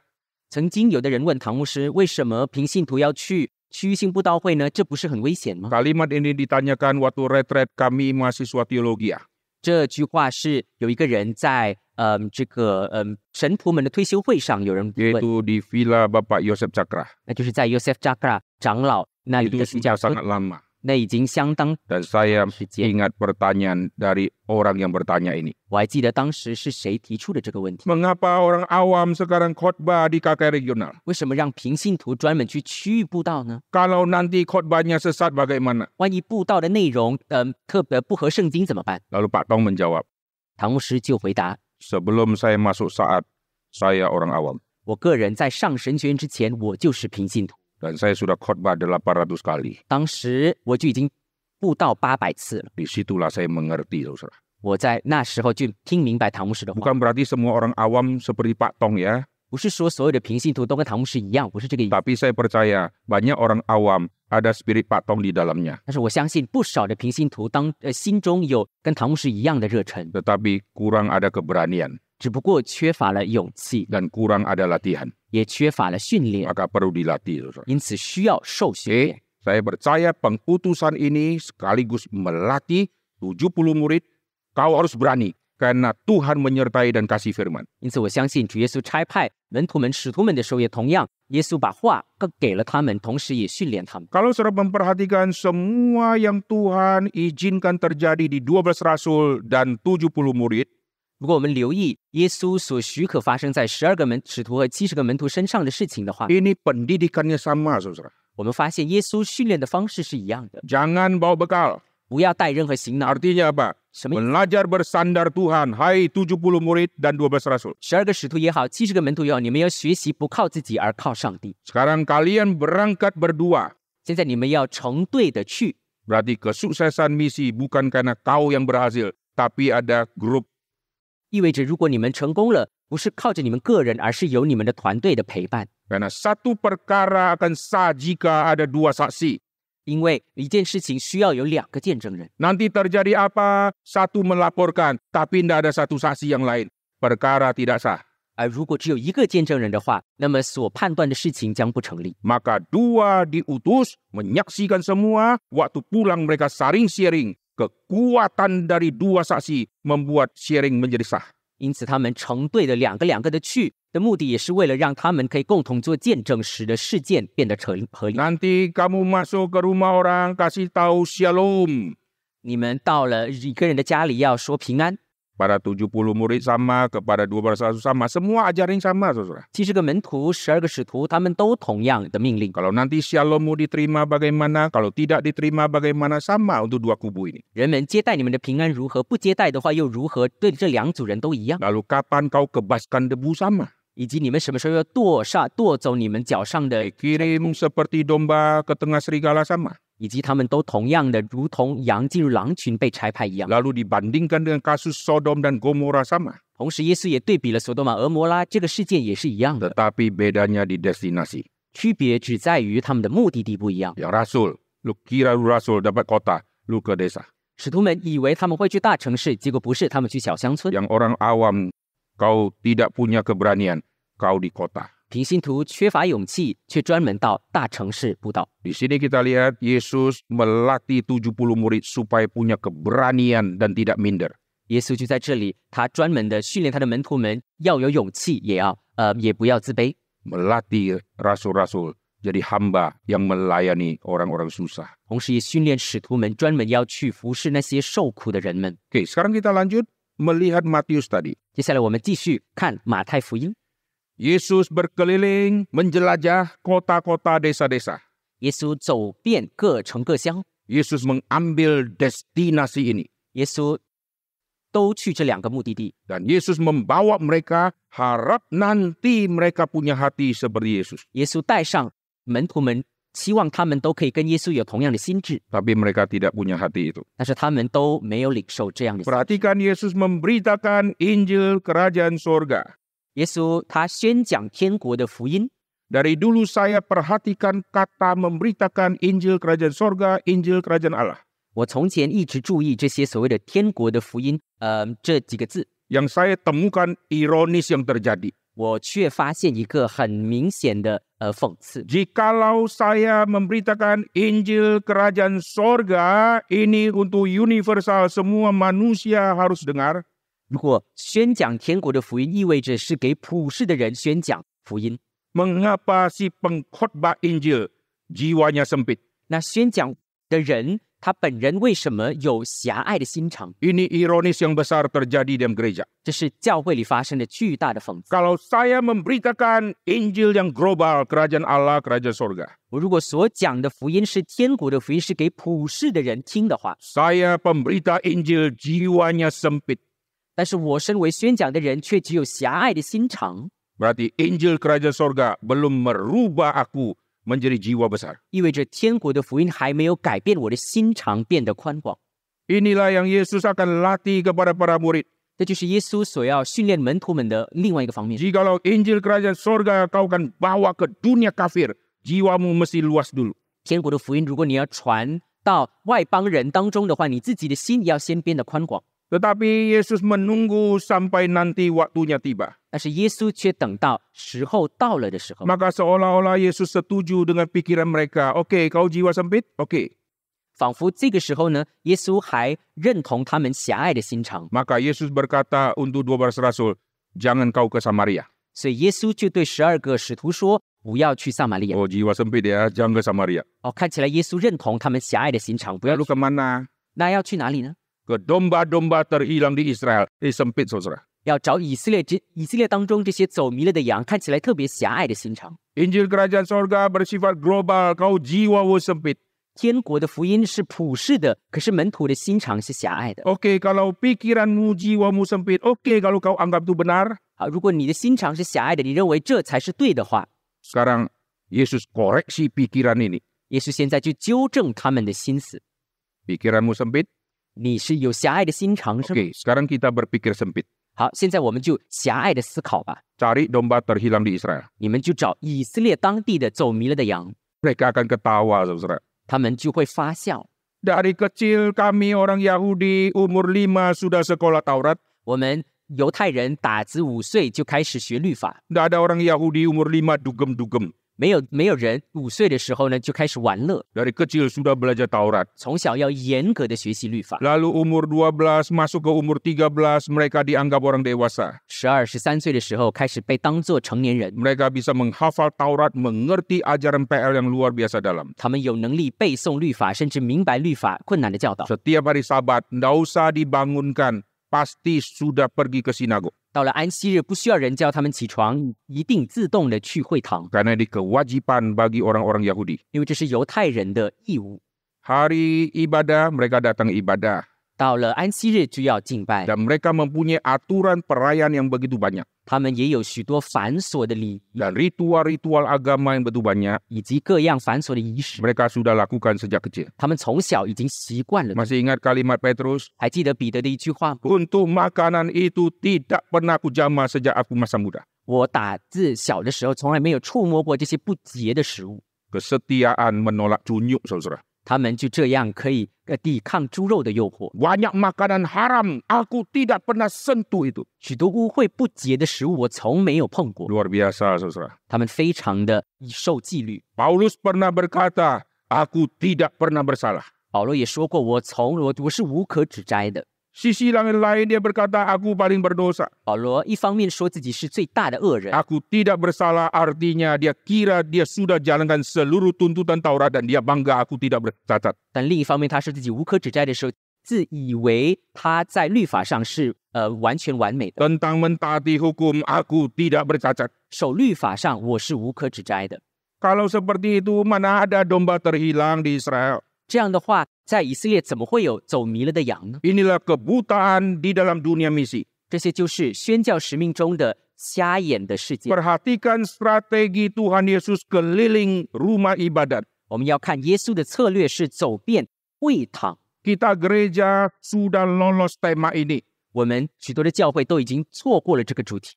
曾经有的人问唐牧师，为什么平信徒要去区域性布道会呢？这不是很危险吗？ Kalimat ini ditanyakan waktu retret kami mahasiswa teologi. ya. 这句话是有一个人在嗯这个嗯神仆们的退休会上有人问， Yaitu di Villa Bapak Yosef Cakra. 那就是在 Yosef Jakra 长老那里 Itu 的主教 sudah 说， sangat lama. 那已经相当 Dan saya 时间。 ingat pertanyaan dari orang yang bertanya ini. 我还记得当时是谁提出的这个问题？ Mengapa orang awam sekarang khotbah di KK regional? 为什么让平信徒专门去区域布道呢？ Kalau nanti khotbahnya sesat bagaimana? 万一布道的内容嗯特别不合圣经怎么办？ Lalu Pak Tong menjawab, 唐牧师就回答： sebelum saya masuk saat, saya orang awam. 我个人在上神学院之前，我就是平信徒， Dan saya sudah khotbah 800 kali. 当时我就已经布道八百次了。 Disitulah saya mengerti, saudara. 我在那时候就听明白唐牧师的话， Bukan berarti semua orang awam seperti Pak Tong ya. 不是说所有的平信徒都跟唐牧师一样，不是这个意思。 Tapi saya percaya banyak orang awam ada spirit Pak Tong di dalamnya. 但是我相信不少的平信徒当呃心中有跟唐牧师一样的热忱， Tetapi kurang ada keberanian 只不过缺乏了勇气， dan kurang ada latihan. 也缺乏了训练， Maka perlu dilatih, saudara. 因此需要受训练。 Saya percaya pengutusan ini sekaligus melatih 70 murid. Kau harus berani karena Tuhan menyertai dan kasih firman. 因此，我相信主耶稣差派门徒们、使徒们的时候，也同样，耶稣把话更给了他们，同时也训练他们。 Kalau saudara memperhatikan semua yang Tuhan izinkan terjadi di 12 rasul dan 70 murid, 如果我们留意耶稣所许可发生在十二个门使徒和七十个门徒身上的事情的话， ini pendidikannya sama saudara. 我们发现耶稣训练的方式是一样的， Jangan bawa bekal. 不要带任何行囊。 Artinya apa? 什么意思？ Belajar bersandar Tuhan. Hai 70 murid dan 12 rasul. 十二个使徒也好，七十个门徒也好，你们要学习不靠自己而靠上帝。 Sekarang kalian berangkat berdua. 现在你们要成对的去， Berarti kesuksesan misi bukan karena kau yang berhasil, tapi ada grup. 意味着如果你们成功了，不是靠着你们个人，而是有你们的团队的陪伴。 Karena satu perkara akan sah jika ada dua saksi. 因为一件事情需要有两个见证人。 Nanti terjadi apa? Satu melaporkan, tapi tidak ada satu saksi yang lain. Perkara tidak sah. 而如果只有一个见证人的话，那么所判断的事情将不成立。 Maka dua diutus menyaksikan semua. Waktu pulang mereka saring-sharing. Kekuatan dari dua saksi membuat sharing menjadi sah. 因此，他们成对的两个两个的去的目的，也是为了让他们可以共同做见证，使得事件变得成合理。 Nanti kamu masuk ke rumah orang, kasih tahu shalom. 你们到了一个人的家里，要说平安。 Pada 70 murid sama, kepada 12 sama. Semua ajaran sama, saudara. 其实，个门徒十二个使徒，他们都同样的命令： Kalau nanti shalommu diterima bagaimana, kalau tidak diterima bagaimana, sama untuk dua kubu ini. 人们接待你们的平安如何，不接待的话又如何？对这两组人都一样， Lalu kapan kau kebaskan debu sama? 以及你们什么时候要跺上跺走你们脚上的， Kirim seperti domba ke tengah serigala sama. 以及他们都同样的如同羊进入狼群被拆派一样。 Lalu dibandingkan dengan kasus Sodom dan Gomora sama. 同时，耶稣也对比了索多玛、俄摩拉这个事件也是一样的， Tetapi bedanya di destinasi. 区别只在于他们的目的地不一样。 Yang rasul, lu kira lu rasul dapat kota, lu ke desa. 使徒们以为他们会去大城市，结果不是，他们去小乡村。 Yang orang awam, kau tidak punya keberanian, kau di kota. 平信徒缺乏勇气，却专门到大城市布道。 Di sini kita lihat Yesus melatih 70 murid supaya punya keberanian dan tidak minder. 耶稣就在这里，他专门的训练他的门徒们要有勇气，也要呃也不要自卑， Melatih rasul-rasul jadi hamba yang melayani orang-orang susah. 同时也训练使徒们专门要去服侍那些受苦的人们。 Oke, sekarang kita lanjut melihat Matius tadi. 接下来我们继续看马太福音， Yesus berkeliling menjelajah kota-kota desa-desa. 耶稣走遍各城各乡， Yesus mengambil destinasi ini 耶稣都去这两个目的地， dan Yesus membawa mereka harap nanti mereka punya hati seperti Yesus. 耶稣带上门徒们期望他们都可以跟耶稣有同样的心智， tapi mereka tidak punya hati itu. 但是他们都没有领受这样的心。 Perhatikan Yesus memberitakan Injil Kerajaan Sorga. 耶稣他宣讲天国的福音， Dari dulu saya perhatikan kata memberitakan Injil Kerajaan Sorga, Injil Kerajaan Allah. 我从前一直注意这些所谓的天国的福音，呃，这几个字， Yang saya temukan ironis yang terjadi. 我却发现一个很明显的呃讽刺。 Jikalau saya memberitakan Injil Kerajaan Sorga, ini untuk universal semua manusia harus dengar. 如果宣讲天国的福音意味着是给普世的人宣讲福音， Mengapa si pengkhotbah Injil jiwanya sempit? 那宣讲的人他本人为什么有狭隘的心肠？ Ini ironis yang besar terjadi dalam gereja. 这是教会里发生的巨大的讽刺。 Kalau saya memberitakan Injil yang global, kerajaan Allah, kerajaan sorga. 我如果所讲的福音是天国的福音，是给普世的人听的话， Saya pemberita Injil jiwanya sempit. 但是我身为宣讲的人却只有狭隘的心肠， Berarti Injil kerajaan sorga belum merubah aku menjadi jiwa besar. 意味着天国的福音还没有改变我的心肠，变得宽广。 Inilah yang Yesus akan latih kepada para murid. 这就是耶稣所要训练门徒们的另外一个方面。 Jikalau Injil kerajaan sorga kau akan bawa ke dunia kafir, jiwamu mesti luas dulu. 天国的福音，如果你要传到外邦人当中的话，你自己的心也要先变得宽广。 Tetapi Yesus menunggu sampai nanti waktunya tiba. 但是耶稣却等到时候到了的时候， Maka seolah-olah Yesus setuju dengan pikiran mereka. Oke, kau jiwa sempit? Oke. 仿佛这个时候呢，耶稣还认同他们狭隘的心肠， Maka Yesus berkata untuk 12 rasul, jangan kau ke Samaria. 所以耶稣就对十二个使徒说：“不要去撒玛利亚。 Oh, jiwa sempit ya, jangan ke Samaria. ”哦，看起来耶稣认同他们狭隘的心肠，不要 Lalu 去。 kemana? 那要去哪里呢？ Ke domba-domba terhilang di Israel. Eh, sempit, saudara. 要找以色列这以色列当中这些走迷了的羊，看起来特别狭隘的心肠。 Injil kerajaan sorga bersifat global, kau jiwamu sempit. 天国的福音是普世的，可是门徒的心肠是狭隘的。 Oke, kalau pikiranmu, jiwamu sempit. Oke, kalau kau anggap itu benar. 啊，如果你的心肠是狭隘的，你认为这才是对的话， Sekarang Yesus koreksi pikiran ini. 耶稣现在就纠正他们的心思。 Pikiranmu sempit? 你是有狭隘的心肠是吗？ Oke, sekarang kita berpikir sempit. 好，现在我们就狭隘的思考吧。 Cari domba terhilang di Israel. 你们就找以色列当地的走迷了的羊， Mereka akan ketawa, saudara. 他们就会发笑。 Dari kecil kami orang Yahudi umur lima sudah sekolah Taurat. 我们犹太人打子五岁就开始学律法， Tidak ada orang Yahudi umur lima dugem-dugem. 没有没有人五岁的时候呢就开始玩乐， Dari kecil sudah belajar Taurat. 从小要严格的学习律法。 Lalu umur 12 masuk ke umur 13 mereka dianggap orang dewasa. 十二十三岁的时候开始被当作成年人， Mereka bisa menghafal Taurat, mengerti ajaran PL yang luar biasa dalam. 他们有能力背诵律法，甚至明白律法困难的教导。 Setiap hari sabat, tidak usah dibangunkan, pasti sudah pergi ke sinago. 到了安息日，不需要人叫他们起床，一定自动的去会堂， Karena ini kewajiban bagi orang-orang Yahudi. 因为这是犹太人的义务。 Hari ibadah, mereka datang ibadah. 到了安息日就要敬拜， Dan mereka mempunyai aturan perayaan yang begitu banyak. 他们也有许多繁琐的礼仪 Dan ritual-ritual agama yang begitu banyak, 以及各样繁琐的仪式， mereka sudah lakukan sejak kecil. 他们从小已经习惯了。 Masih ingat kalimat Petrus? 还记得彼得的一句话吗？ Untuk makanan itu tidak pernah kujama sejak aku masa muda. 我打自小的时候从来没有触摸过这些不洁的食物， Kesetiaan menolak cunyuk, saudara. 他们就这样可以呃抵抗猪肉的诱惑。 Banyak makanan haram, aku tidak pernah sentuh itu. 许多污秽不洁的食物我从没有碰过， Luar biasa, saudara. 他他们非常的受纪律。 Paulus pernah berkata, aku tidak pernah bersalah. 保罗也说过，我从我我是无可指摘的。 Sisi lain lain dia berkata, aku paling berdosa. 保罗一方面说自己是最大的恶人， Aku tidak bersalah artinya dia kira dia sudah jalankan seluruh tuntutan Taurat dan dia bangga aku tidak bercacat. 但另一方面他说自己无可指摘的时候，自以为他在律法上是呃完全完美的， Tentang mentaati hukum, aku tidak bercacat. 守律法上我是无可指摘的。 Kalau seperti itu, mana ada domba terhilang di Israel? 这样的话，在以色列怎么会有走迷了的羊呢？ Inilah kebutaan di dalam dunia misi. 这些就是宣教使命中的瞎眼的世界。 Perhatikan strategi Tuhan Yesus keliling rumah ibadat. 我们要看耶稣的策略是走遍会堂。 Kita gereja sudah lolos tema ini. 我们许多的教会都已经错过了这个主题，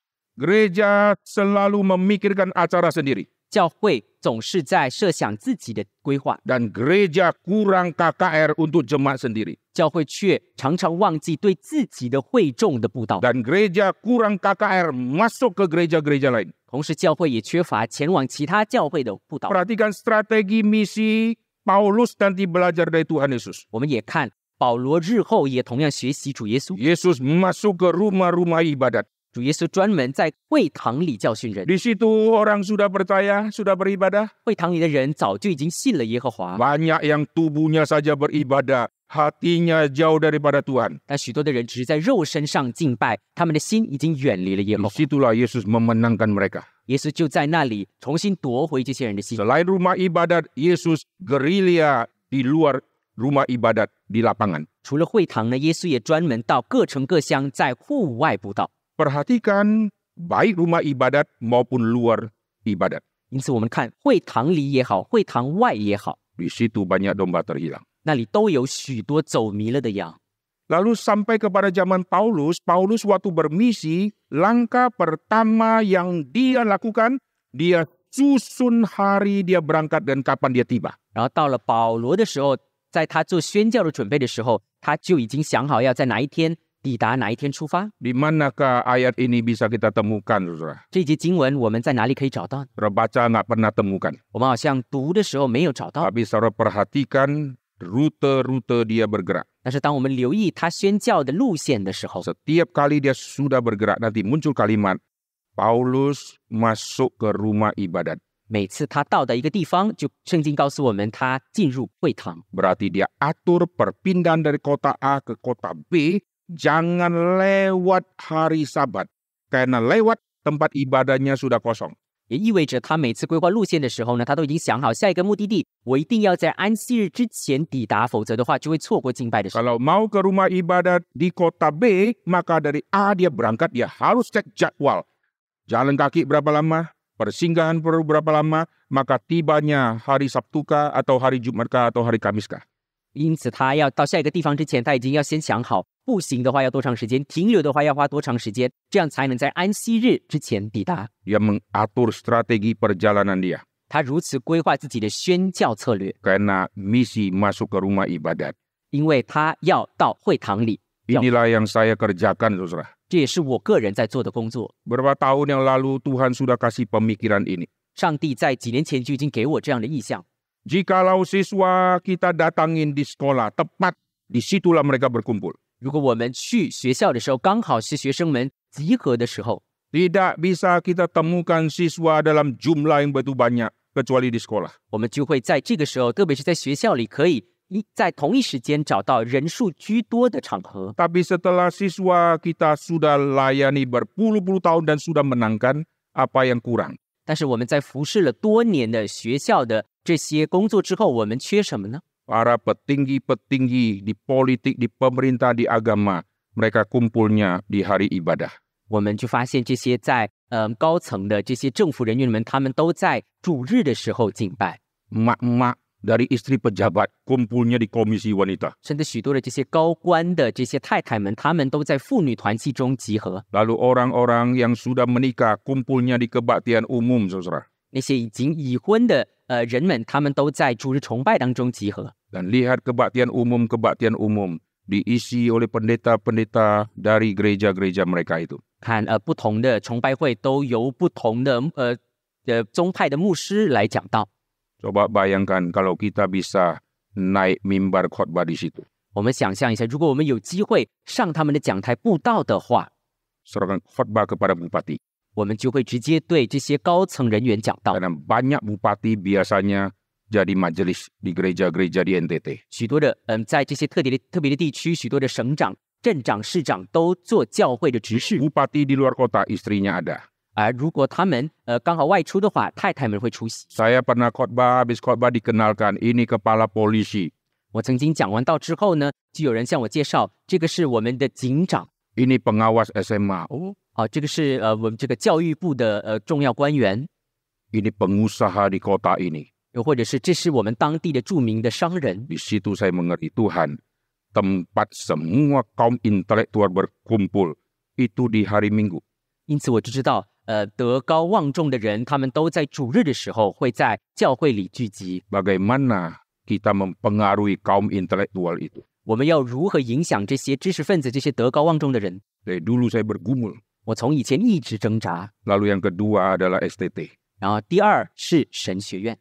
Gereja selalu memikirkan acara sendiri 教会总是在设想自己的规划， dan gereja kurang KKR untuk jemaat sendiri 教会却常常忘记对自己的会众的布道， dan gereja kurang KKR masuk ke gereja-gereja lain. 同时教会也缺乏前往其他教会的布道。 Perhatikan strategi misi Paulus nanti belajar dari Tuhan Yesus. 我们也看保罗日后也同样学习主耶稣， Yesus masuk ke rumah-rumah ibadat. 主耶稣专门在会堂里教训人， Di situ orang sudah percaya, sudah beribadah. 会堂里的人早就已经信了耶和华，Ah. Banyak yang tubuhnya saja beribadah, hatinya jauh daripada Tuhan. 但许多的人只是在肉身上敬拜，他们的心已经远离了耶和 Di 华。 situlah Yesus memenangkan mereka. 耶稣就在那里重新夺回这些人的心。 Selain rumah ibadat, Yesus gerilya di luar rumah ibadat di lapangan. 除了会堂呢，耶稣也专门到各城各乡，在户外布道。 Perhatikan baik rumah ibadat maupun luar ibadat. 因此，我们看会堂里也好，会堂外也好， Di situ banyak domba terhilang. 那里都有许多走迷了的羊。 Lalu sampai kepada zaman Paulus, Paulus waktu bermisi, langkah pertama yang dia lakukan, dia susun hari dia berangkat dan kapan dia tiba. 然后到了保罗的时候，在他做宣教的准备的时候，他就已经想好要在哪一天抵达，哪一天出发。 Di manakah ayat ini bisa kita temukan, saudara? 这一节经文我们在哪里可以找到呢？ Saudara baca nggak pernah temukan. 我们好像读的时候没有找到， Tapi saudara perhatikan rute-rute dia bergerak. 但是当我们留意他宣教的路线的时候， Setiap kali dia sudah bergerak, nanti muncul kalimat, Paulus masuk ke rumah ibadat. 每次他到的一个地方，就圣经告诉我们他进入会堂。 Berarti dia atur perpindahan dari kota A ke kota B, jangan lewat hari sabat. Karena lewat tempat ibadahnya sudah kosong. 也意味着他每次规划路线的时候呢，他都已经想好下一个目的地，我一定要在安息日之前抵达，否则的话就会错过敬拜的时候。 Kalau mau ke rumah ibadat di kota B, maka dari A dia berangkat, dia harus cek jadwal. Jalan kaki berapa lama, persinggahan perlu berapa lama, maka tibanya hari Sabtu kah, atau hari Jumat kah, atau hari Kamis kah. 因此，他要到下一个地方之前，他已经要先想好，步行的话要多长时间，停留的话要花多长时间，这样才能在安息日之前抵达。 Dia mengatur strategi perjalanan dia. 他如此规划自己的宣教策略， Karena misi masuk ke rumah ibadat. 因为他要到会堂里。 Inilah yang saya kerjakan, saudara. 这也是我个人在做的工作。 Berapa tahun yang lalu Tuhan sudah kasih pemikiran ini. 上帝在几年前就已经给我这样的意向。 Jikalau siswa kita datangin di sekolah, tepat disitulah mereka berkumpul. 如果我们去学校的时候，刚好是学生们集合的时候， Tidak bisa kita temukan siswa dalam jumlah yang begitu banyak kecuali di sekolah. 我们就会在这个时候，特别是在学校里，可以一在同一时间找到人数居多的场合。 Tapi setelah siswa kita sudah layani berpuluh-puluh tahun dan sudah menangkan apa yang kurang. 但是我们在服侍了多年的学校的这些工作之后，我们缺什么呢？ Para petinggi-petinggi di politik, di pemerintah, di agama, mereka kumpulnya di hari ibadah. 我们就发现这些在嗯、呃高层的这些政府人员们，他们都在主日的时候敬拜， Mak-mak dari istri pejabat kumpulnya di komisi wanita. 甚至许多的这些高官的这些太太们，他们都在妇女团契中集合。 Lalu orang-orang yang sudah menikah kumpulnya di kebaktian umum, saudara. 那些已经已婚的呃人们，他们都在主日崇拜当中集合。 dan lihat kebaktian umum kebaktian umum diisi oleh pendeta-pendeta dari gereja-gereja mereka itu. 看呃不同的崇拜会都由不同的呃呃宗派的牧师来讲道。 Coba bayangkan kalau kita bisa naik mimbar khotbah di situ. 我们想象一下，如果我们有机会上他们的讲台布道的话， Serangan khotbah kepada bupati. 我们就会直接对这些高层人员讲道。 Karena banyak bupati biasanya jadi majelis di gereja-gereja di NTT. 许多的嗯、在这些特别的特别的地区，许多的省长、镇长、市长都做教会的执事。 Bupati di luar kota istrinya ada. 而如果他们呃刚好外出的话，太太们会出席。 Saya pernah khotbah, habis khotbah dikenalkan ini kepala polisi, 我曾经讲完道之后呢，就有人向我介绍，这个是我们的警长， ini pengawas SMA, oh, 哦、这个是呃我们这个教育部的呃重要官员， ini pengusaha di kota ini. 又或者是这是我们当地的著名的商人。 Di situ saya mengerti Tuhan, tempat semua kaum intelektual berkumpul itu di hari Minggu. 因此我就知道，呃，德高望重的人，他们都在主日的时候会在教会里聚集。 Bagaimana kita mempengaruhi kaum intelektual itu? 我们要如何影响这些知识分子、这些德高望重的人？ Dari dulu saya bergumul. 我从以前一直挣扎。 Lalu yang kedua adalah STT. 然后第二是神学院，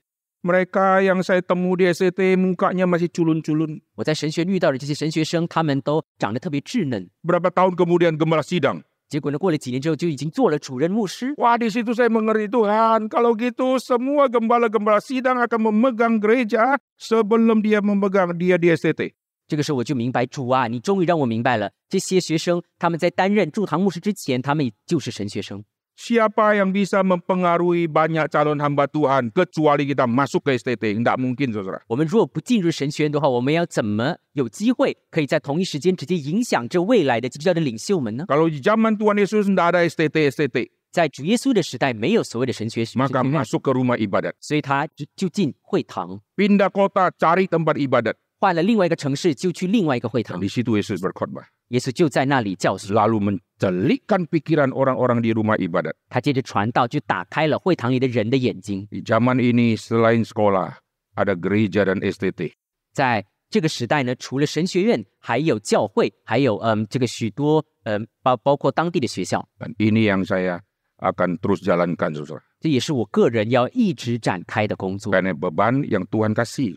Mereka yang saya temu di STT mukanya masih culun-culun. 我在神学院遇到的这些神学生，他们都长得特别稚嫩。 Berapa tahun kemudian gembala sidang. 结果呢，过了几年之后就已经做了主任牧师。 Wah di situ saya mengerti Tuhan. Kalau gitu semua gembala-gembala sidang akan memegang gereja sebelum dia memegang dia di STT. 这个时候我就明白，主啊，你终于让我明白了，这些学生他们在担任驻堂牧师之前，他们就是神学生。 Siapa yang bisa mempengaruhi banyak calon hamba Tuhan kecuali kita masuk ke STT? Tidak mungkin, saudara. 我们如果不进入神学院的话，我们要怎么有机会可以在同一时间直接影响这未来的基督教的领袖们呢？ Kalau di zaman Tuhan Yesus tidak ada STT STT, 在主耶稣的时代，没有所谓的神学学 maka 院 masuk ke rumah ibadat, 所以他就就进会堂， pindah kota, cari tempat ibadat. 换了另外一个城市就去另外一个会 Dan 堂。 Di situ Yesus berkhotbah, 耶稣就在那里教训， lalu mencelikkan pikiran orang-orang di rumah ibadat. 他接着传道，就打开了会堂里的人的眼睛。 Di zaman ini selain sekolah ada gereja dan STT. 在这个时代呢，除了神学院，还有教会，还有嗯，这个许多嗯，包包括当地的学校， Dan ini yang saya akan terus jalankan, saudara. 这也是我个人要一直展开的工作， Karena beban yang Tuhan kasih.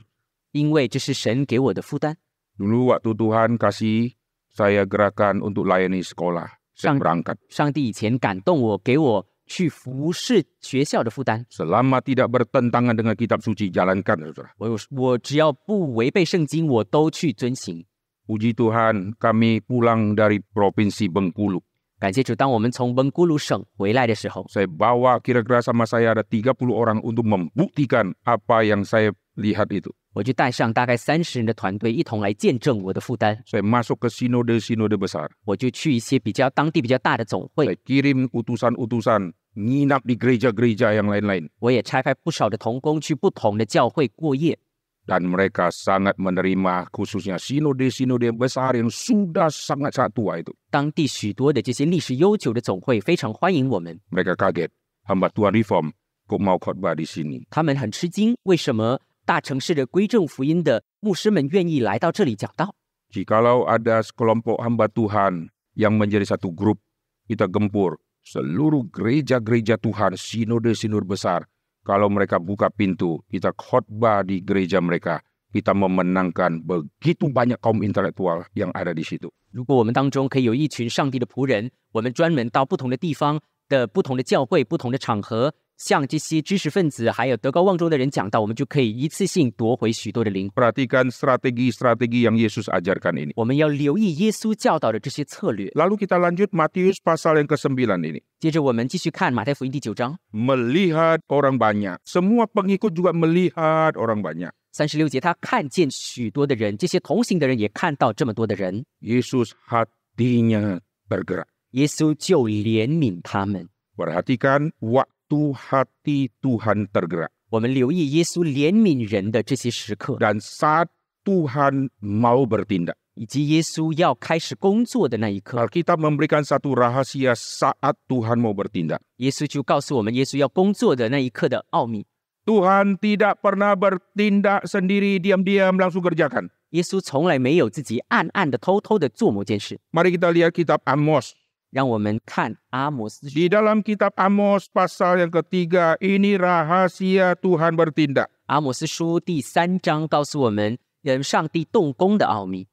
因为这是神给我的负担。 Dulu waktu Tuhan kasih, saya gerakan untuk layani sekolah. Saya Sang- berangkat. 上帝以前感动我，给我去服侍学校的负担。 Selama tidak bertentangan dengan kitab suci, jalankan, saudara. 我有我只要不违背圣经，我都去遵行。 Puji Tuhan, kami pulang dari Provinsi Bengkulu. 感谢主，当我们从温姑鲁省回来的时候， Saya bawa kira-kira sama saya ada 30 orang untuk membuktikan apa yang saya lihat itu. 我就带上大概三十人的团队一同来见证我的负担。 Saya masuk ke sinode-sinode besar. 我就去一些比较当地比较大的总会， Saya kirim utusan-utusan nginap di gereja-gereja yang lain-lain 我也差派不少的童工去不同的教会过夜。 dan mereka sangat menerima khususnya sinode-sinode yang besar yang sudah sangat sangat tua itu. 当地许多的这些历史悠久的总会非常欢迎我们， Mereka kaget, hamba Tuhan reform kok mau khotbah di sini. 他们很吃惊，为什么大城市的归正福音的牧师们愿意来到这里讲道？ Jikalau ada sekelompok hamba Tuhan yang menjadi satu grup, kita gempur seluruh gereja-gereja Tuhan, sinode-sinode besar. Kalau mereka buka pintu, kita khotbah di gereja mereka. Kita memenangkan begitu banyak kaum intelektual yang ada di situ. 如果我们当中可以有一群上帝的仆人，我们专门到不同的地方的不同的教会、不同的场合，向这些知识分子还有德高望重的人讲道，我们就可以一次性夺回许多的灵魂。 Perhatikan strategi-strategi yang Yesus ajarkan ini. 我们要留意耶稣教导的这些策略。 Lalu kita lanjut Matius pasal yang ke-9 ini. 接着我们继续看马太福音第九章 Melihat orang banyak. Semua pengikut juga melihat orang banyak. 三十六节，他看见许多的人，这些同行的人也看到这么多的人， Yesus hatinya tergerak. 耶稣就怜悯他们。 Perhatikan waktu hati Tuhan tergerak. 我们留意耶稣怜悯人的这些时刻， Dan saat Tuhan mau bertindak. 以及耶稣要开始工作的那一刻， Alkitab memberikan satu rahasia saat Tuhan mau bertindak. 耶稣就告诉我们耶稣要工作的那一刻的奥秘。 Tuhan tidak pernah bertindak sendiri diam-diam langsung kerjakan. 耶稣从来没有自己暗暗的、偷偷的做某件事。 Mari kita lihat kitab Amos 让我们看阿摩斯书， Di dalam kitab Amos pasal yang ketiga ini rahasia Tuhan bertindak. 阿摩斯书第三章告诉我们，嗯，上帝动工的奥秘。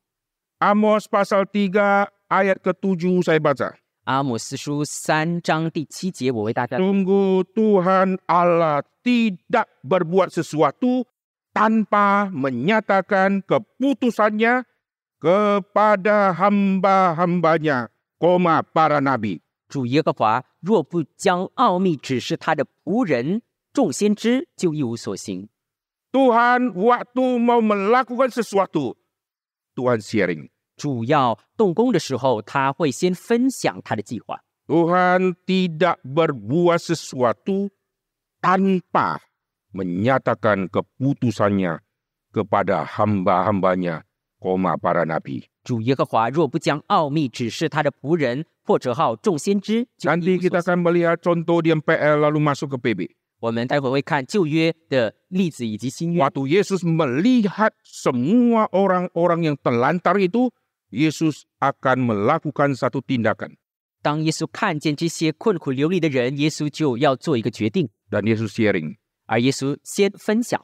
Amos pasal 3 ayat ketujuh saya baca. 阿摩斯书三章第七节，我为大家 Sungguh Tuhan Allah tidak berbuat sesuatu tanpa menyatakan keputusannya kepada hamba-hambanya, koma para nabi. 主耶和华若不将奥秘指示他的仆人众先知，就一无所行。 Tuhan waktu mau melakukan sesuatu, Tuhan sharing. 主要动工的时候，他会先分享他的计划。 Tuhan tidak berbuat sesuatu tanpa menyatakan keputusannya kepada hamba-hambanya, koma para nabi. 主耶和华若不将奥秘指示他的仆人或者号众先知，就 Nanti 一无所 kita akan melihat contoh di MPL lalu masuk ke PB. 我们待会会看旧约的例子以及新约。 Waktu Yesus melihat semua orang-orang yang terlantar itu, Yesus akan melakukan satu tindakan. 当耶稣看见这些困苦流离的人，耶稣就要做一个决定， Dan Yesus sharing, 而耶稣先分享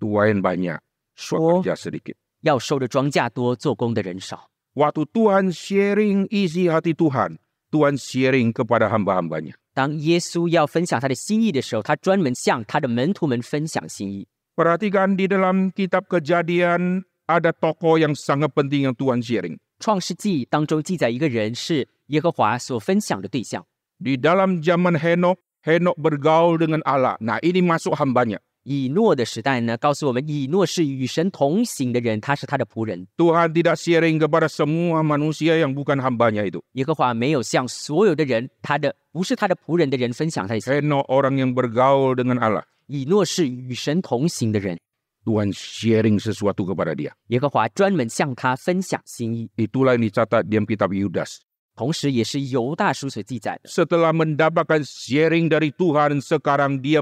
tuain banyak, 说 pekerja sedikit. 要收的庄稼多，做工的人少。 Waktu Tuhan sharing isi hati Tuhan, Tuhan sharing kepada hamba-hambanya. 当耶稣要分享他的心意的时候，他专门向他的门徒们分享心意。 Perhatikan di dalam kitab kejadian ada tokoh yang sangat penting yang Tuhan sharing. 创世纪当中记载一个人是耶和华所分享的对象。 Di dalam zaman Henok, Henok bergaul dengan Allah. Nah ini masuk hambanya. 以诺的时代呢，告诉我们以诺是与神同行的人，他是他的仆人。 Tuhan tidak sharing kepada semua manusia yang bukan hambanya itu. 耶和华没有向所有的人，他的不是他的仆人的人分享他的心。 Henok orang yang bergaul dengan Allah. 以诺是与神同行的人， Tuhan sharing sesuatu kepada dia. 耶和华专门向他分享心意， Itulah yang dicatat di dalam kitab Yudas. 同时也是犹大书所记载的。 Setelah mendapatkan sharing dari Tuhan, sekarang dia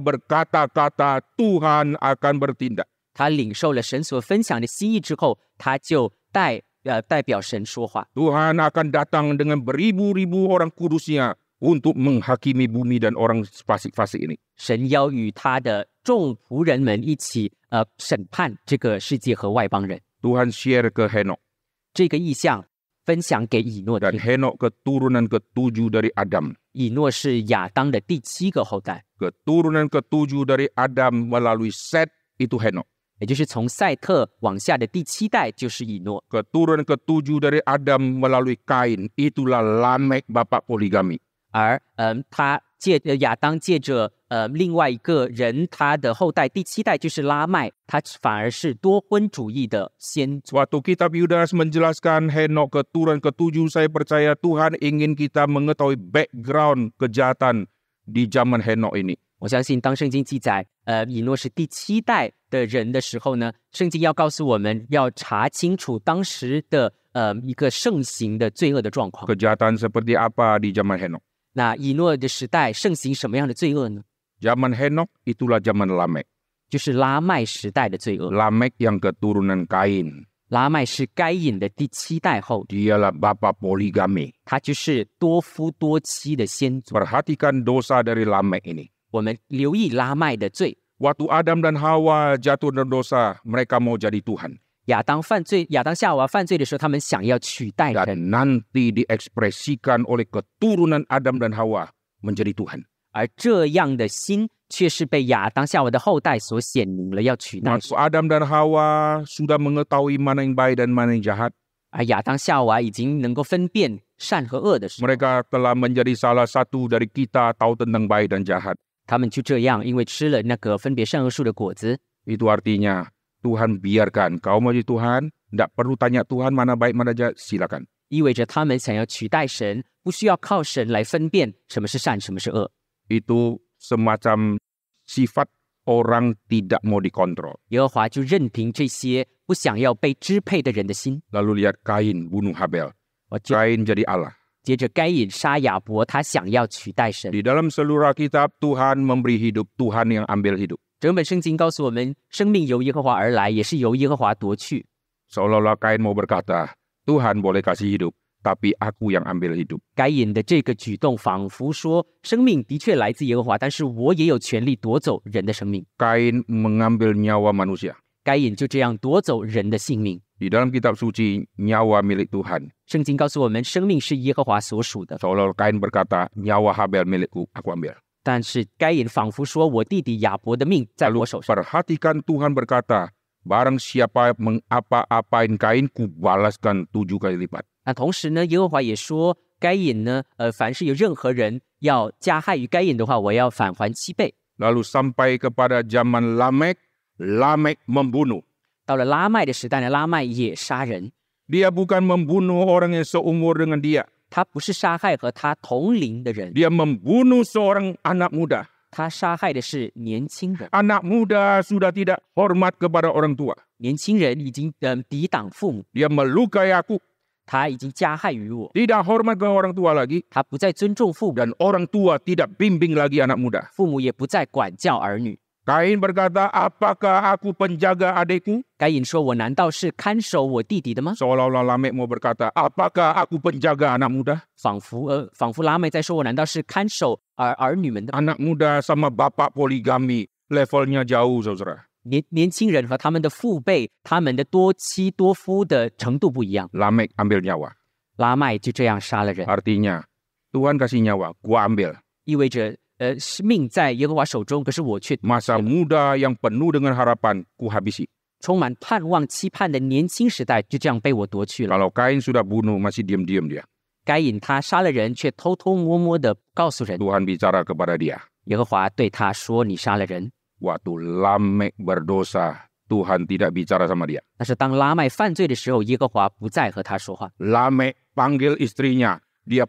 berkata-kata Tuhan akan bertindak. 他领受了神所分享的心意之后，他就代呃代表神说话。 Tuhan akan datang dengan beribu-ribu orang kudusnya untuk menghakimi bumi dan orang fasik-fasik ini. 神要与他的众仆人们一起呃审判这个世界和外邦人。 Tuhan share ke Henok. 这个意象分享给以诺 Dan 听。 Henok keturunan ketujuh dari Adam. 以诺是亚当的第七个后代， Keturunan ketujuh dari Adam melalui Set itu Henok. 也就是从赛特往下的第七代就是以诺。 Keturunan ketujuh dari Adam melalui Kain itulah Lamek bapak poligami. 而嗯、他借呃亚当借着呃另外一个人，他的后代第七代就是拉麦，他反而是多婚主义的先祖。 Suatu kitab Yudas menjelaskan Henok keturunan ketujuh saya percaya Tuhan ingin kita mengetahui background kejahatan di zaman Henok ini. 我相信当圣经记载呃以诺是第七代的人的时候呢，圣经要告诉我们要查清楚当时的呃一个盛行的罪恶的状况。 Kejahatan seperti apa di zaman Henok? 那以诺的时代盛行什么样的罪恶呢？ Zaman Henok itulah zaman Lamek. 就是拉麦时代的罪恶。 Lamek yang keturunan Kain. 拉麦是该隐的第七代后裔， Dialah bapak poligami. 他就是多夫多妻的先祖。 Perhatikan dosa dari Lamek ini. 我们留意拉麦的罪。 Waktu Adam dan Hawa jatuh dalam dosa, mereka mau jadi Tuhan. 亚当犯罪，亚当夏娃犯罪的时候，他们想要取代神， Dan nanti diekspresikan oleh keturunan Adam dan Hawa menjadi Tuhan. 而这样的心却是被亚当夏娃的后代所显明了，要取代 Waktu 神。 Adam dan Hawa sudah mengetahui mana yang baik dan mana yang jahat, 而亚当夏娃已经能够分辨善和恶的时候， mereka telah menjadi salah satu dari kita tahu tentang baik dan jahat. 他们就这样，因为吃了那个分别善恶树的果子， Itu artinya Tuhan biarkan kau mau jadi Tuhan, tidak perlu tanya Tuhan mana baik mana jahat, silakan. 意味着他们想要取代神，不需要靠神来分辨什么是善，什么是恶。 Itu semacam sifat orang tidak mau dikontrol. 耶和华就任凭这些不想要被支配的人的心。 Lalu lihat Kain bunuh Habel. 我就 Kain jadi Allah. 接着该隐杀亚伯，他想要取代神。 Di dalam seluruh kitab Tuhan memberi hidup, Tuhan yang ambil hidup. 整本圣经告诉我们，生命由耶和华而来，也是由耶和华夺去。 Seolah-olah Kain mau berkata, Tuhan boleh kasih hidup, tapi aku yang ambil hidup. 该隐的这个举动，仿佛说，生命的确来自耶和华，但是我也有权利夺走人的生命。 Kain mengambil nyawa manusia. 该隐就这样夺走人的性命。 Di dalam kitab suci, nyawa milik Tuhan. 圣经告诉我们，生命是耶和华所属的， Seolah-olah Kain berkata, nyawa Habel milikku, aku ambil. 但是该隐仿佛说，我弟弟亚伯的命在 Lalu 我手上。 perhatikan Tuhan berkata, Barang siapa mengapa-apain kain, kubalaskan tujuh kali lipat. 那同时呢，耶和华也说，该隐呢，呃，凡是有任何人要加害于该隐的话，我要返还七倍。 Lalu sampai kepada zaman Lamek, Lamek membunuh. 到了拉麦的时代呢，拉麦也杀人， Dia bukan membunuh orang yang seumur dengan dia. 他不是杀害和他同龄的人， Dia membunuh seorang anak muda. 他他杀害的是年轻人， Anak muda sudah tidak hormat kepada orang tua. 年轻人已经嗯、抵挡父母， Dia melukai aku, 他已经加害于我， tidak hormat kepada orang tua lagi. 他不再尊重父母， Dan orang tua tidak bimbing lagi anak muda. 父母也不再管教儿女。 Kain berkata, apakah aku penjaga adikku? 该隐说：“我难道是看守我弟弟的吗？” Seolah-olah Lamek mau berkata, apakah aku penjaga anak muda? 仿佛呃，仿佛拉妹在说：“我难道是看守儿儿女们的吗 Anak muda sama bapak poligami, levelnya jauh saudara. 年年轻人和他们的父辈，他们的多妻多夫的程度不一样。 Lamek ambil nyawa. 拉麦就这样杀了人， Artinya, Tuhan kasih nyawa, gua ambil. 意味着呃，是命在耶和华手中，可是我却 Masa muda yang penuh dengan harapan, ku habisi. 充满盼望、期盼的年轻时代就这样被我夺去了。 Kalau Kain sudah bunuh, masih diam-diam dia. 该隐他杀了人，却偷偷摸摸的告诉人， Tuhan bicara kepada dia. 耶和华对他说：“你杀了人。 Waktu Lamek berdosa, Tuhan tidak bicara sama dia. ”但是当拉麦犯罪的时候，耶和华不再和他说话。 Lamek panggil istrinya, dia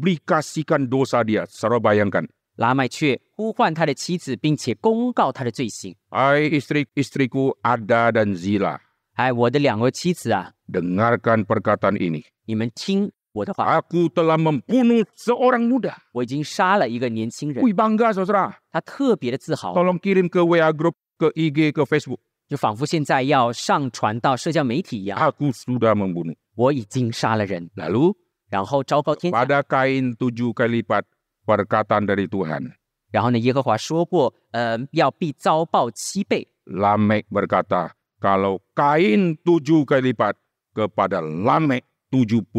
publikasikan dosa dia. Saudara bayangkan, 拉麦却呼唤他的妻子，并且公告他的罪行。 Hai istri istriku Ada dan Zila, 哎，我的两个妻子啊， dengarkan perkataan ini. 你们听我的话， Aku telah membunuh seorang muda. 我已经杀了一个年轻人。 Wih bangga saudara. 他特别的自豪， Tolong kirim ke WA group, ke IG, ke Facebook. 就仿佛现在要上传到社交媒体一样。 Aku sudah membunuh. 我已经杀了人， Lalu 然后昭告天下。 pada kain tujuh kali lipat perkataan dari Tuhan. 然后呢，耶和华说过，呃，要必遭报七倍。 Lamek berkata, kalau kain tujuh kali lipat kepada Lamek 77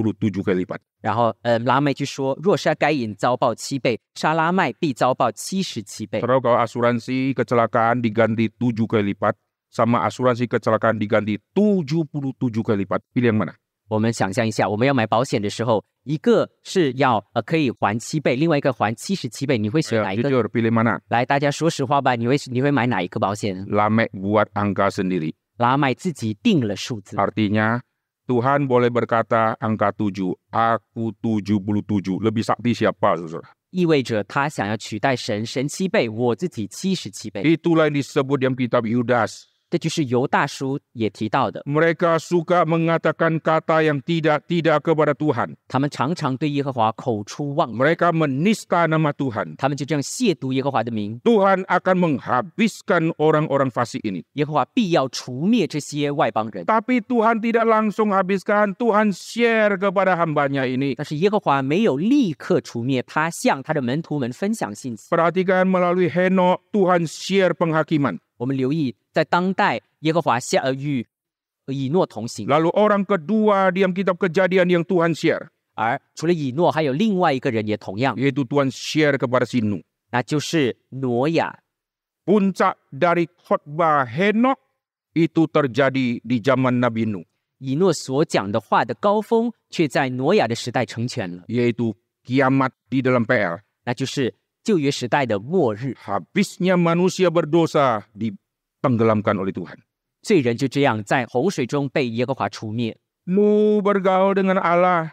kali lipat. 然后，呃，拉麦就说，若杀该隐遭报七倍，杀拉麦必遭报七十七倍。 Terus kalau asuransi kecelakaan diganti 7 kali lipat sama asuransi kecelakaan diganti 77 kali lipat. Pilih yang mana? 我们想象一下，我们要买保险的时候，一个是要呃可以还七倍，另外一个还七十七倍，你会选 Ayo, 哪一个？ jujur, pilih mana? 来，大家说实话吧，你会你会买哪一个保险？ Lamek buat angka sendiri. 拉麦自己定了数字， Artinya, Tuhan boleh berkata angka 7, aku 77. Lebih sakti siapa? Saudara? 意味着他想要取代神，神七倍，我自己七十七倍。 Itulah yang disebut dalam kitab Yudas. 这就是犹大叔也提到的， Mereka suka mengatakan kata yang tidak-tidak kepada Tuhan. 他们常常对耶和华口出妄语， Mereka menista nama Tuhan. 他们就这样亵渎耶和华的名， Tuhan akan menghabiskan orang-orang fasik ini. 耶和华必要除灭这些外邦人。 Tapi Tuhan tidak langsung habiskan, Tuhan share kepada hambanya ini. 但是耶和华没有立刻除灭，他向他的门徒们分享信息。 Perhatikan melalui Henok, Tuhan share penghakiman. 我们留意，在当代耶和华下呃与以诺同行， Lalu orang kedua diam kitab kejadian yang Tuhan share. 而除了以诺，还有另外一个人也同样， Yaitu Tuhan share kepada si Nuh. 那就是挪亚。 Puncak dari khotbah Henok itu terjadi di zaman Nabi Nuh. 以诺所讲的话的高峰，却在挪亚的时代成全了， Yaitu kiamat di dalam PL. 那就是旧约时代的末日。 Habisnya manusia berdosa ditenggelamkan oleh Tuhan. 罪人就这样在洪水中被耶和华除灭。 Nuh bergaul dengan Allah.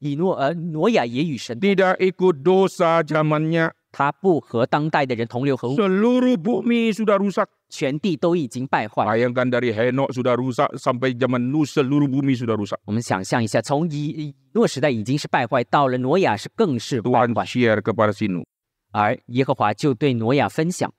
以诺呃挪亚也与神， Tidak ikut dosa zamannya. 他不和当代的人同流合污， Seluruh bumi sudah rusak. 全地都已经败坏。 Bayangkan dari Henok sudah rusak sampai zaman Nuh seluruh bumi sudah rusak. 我们想象一下，从以以诺时代已经是败坏，到了挪亚是更是败 Tuhan 坏， share kepada si Nuh. 而耶和华就对挪亚分享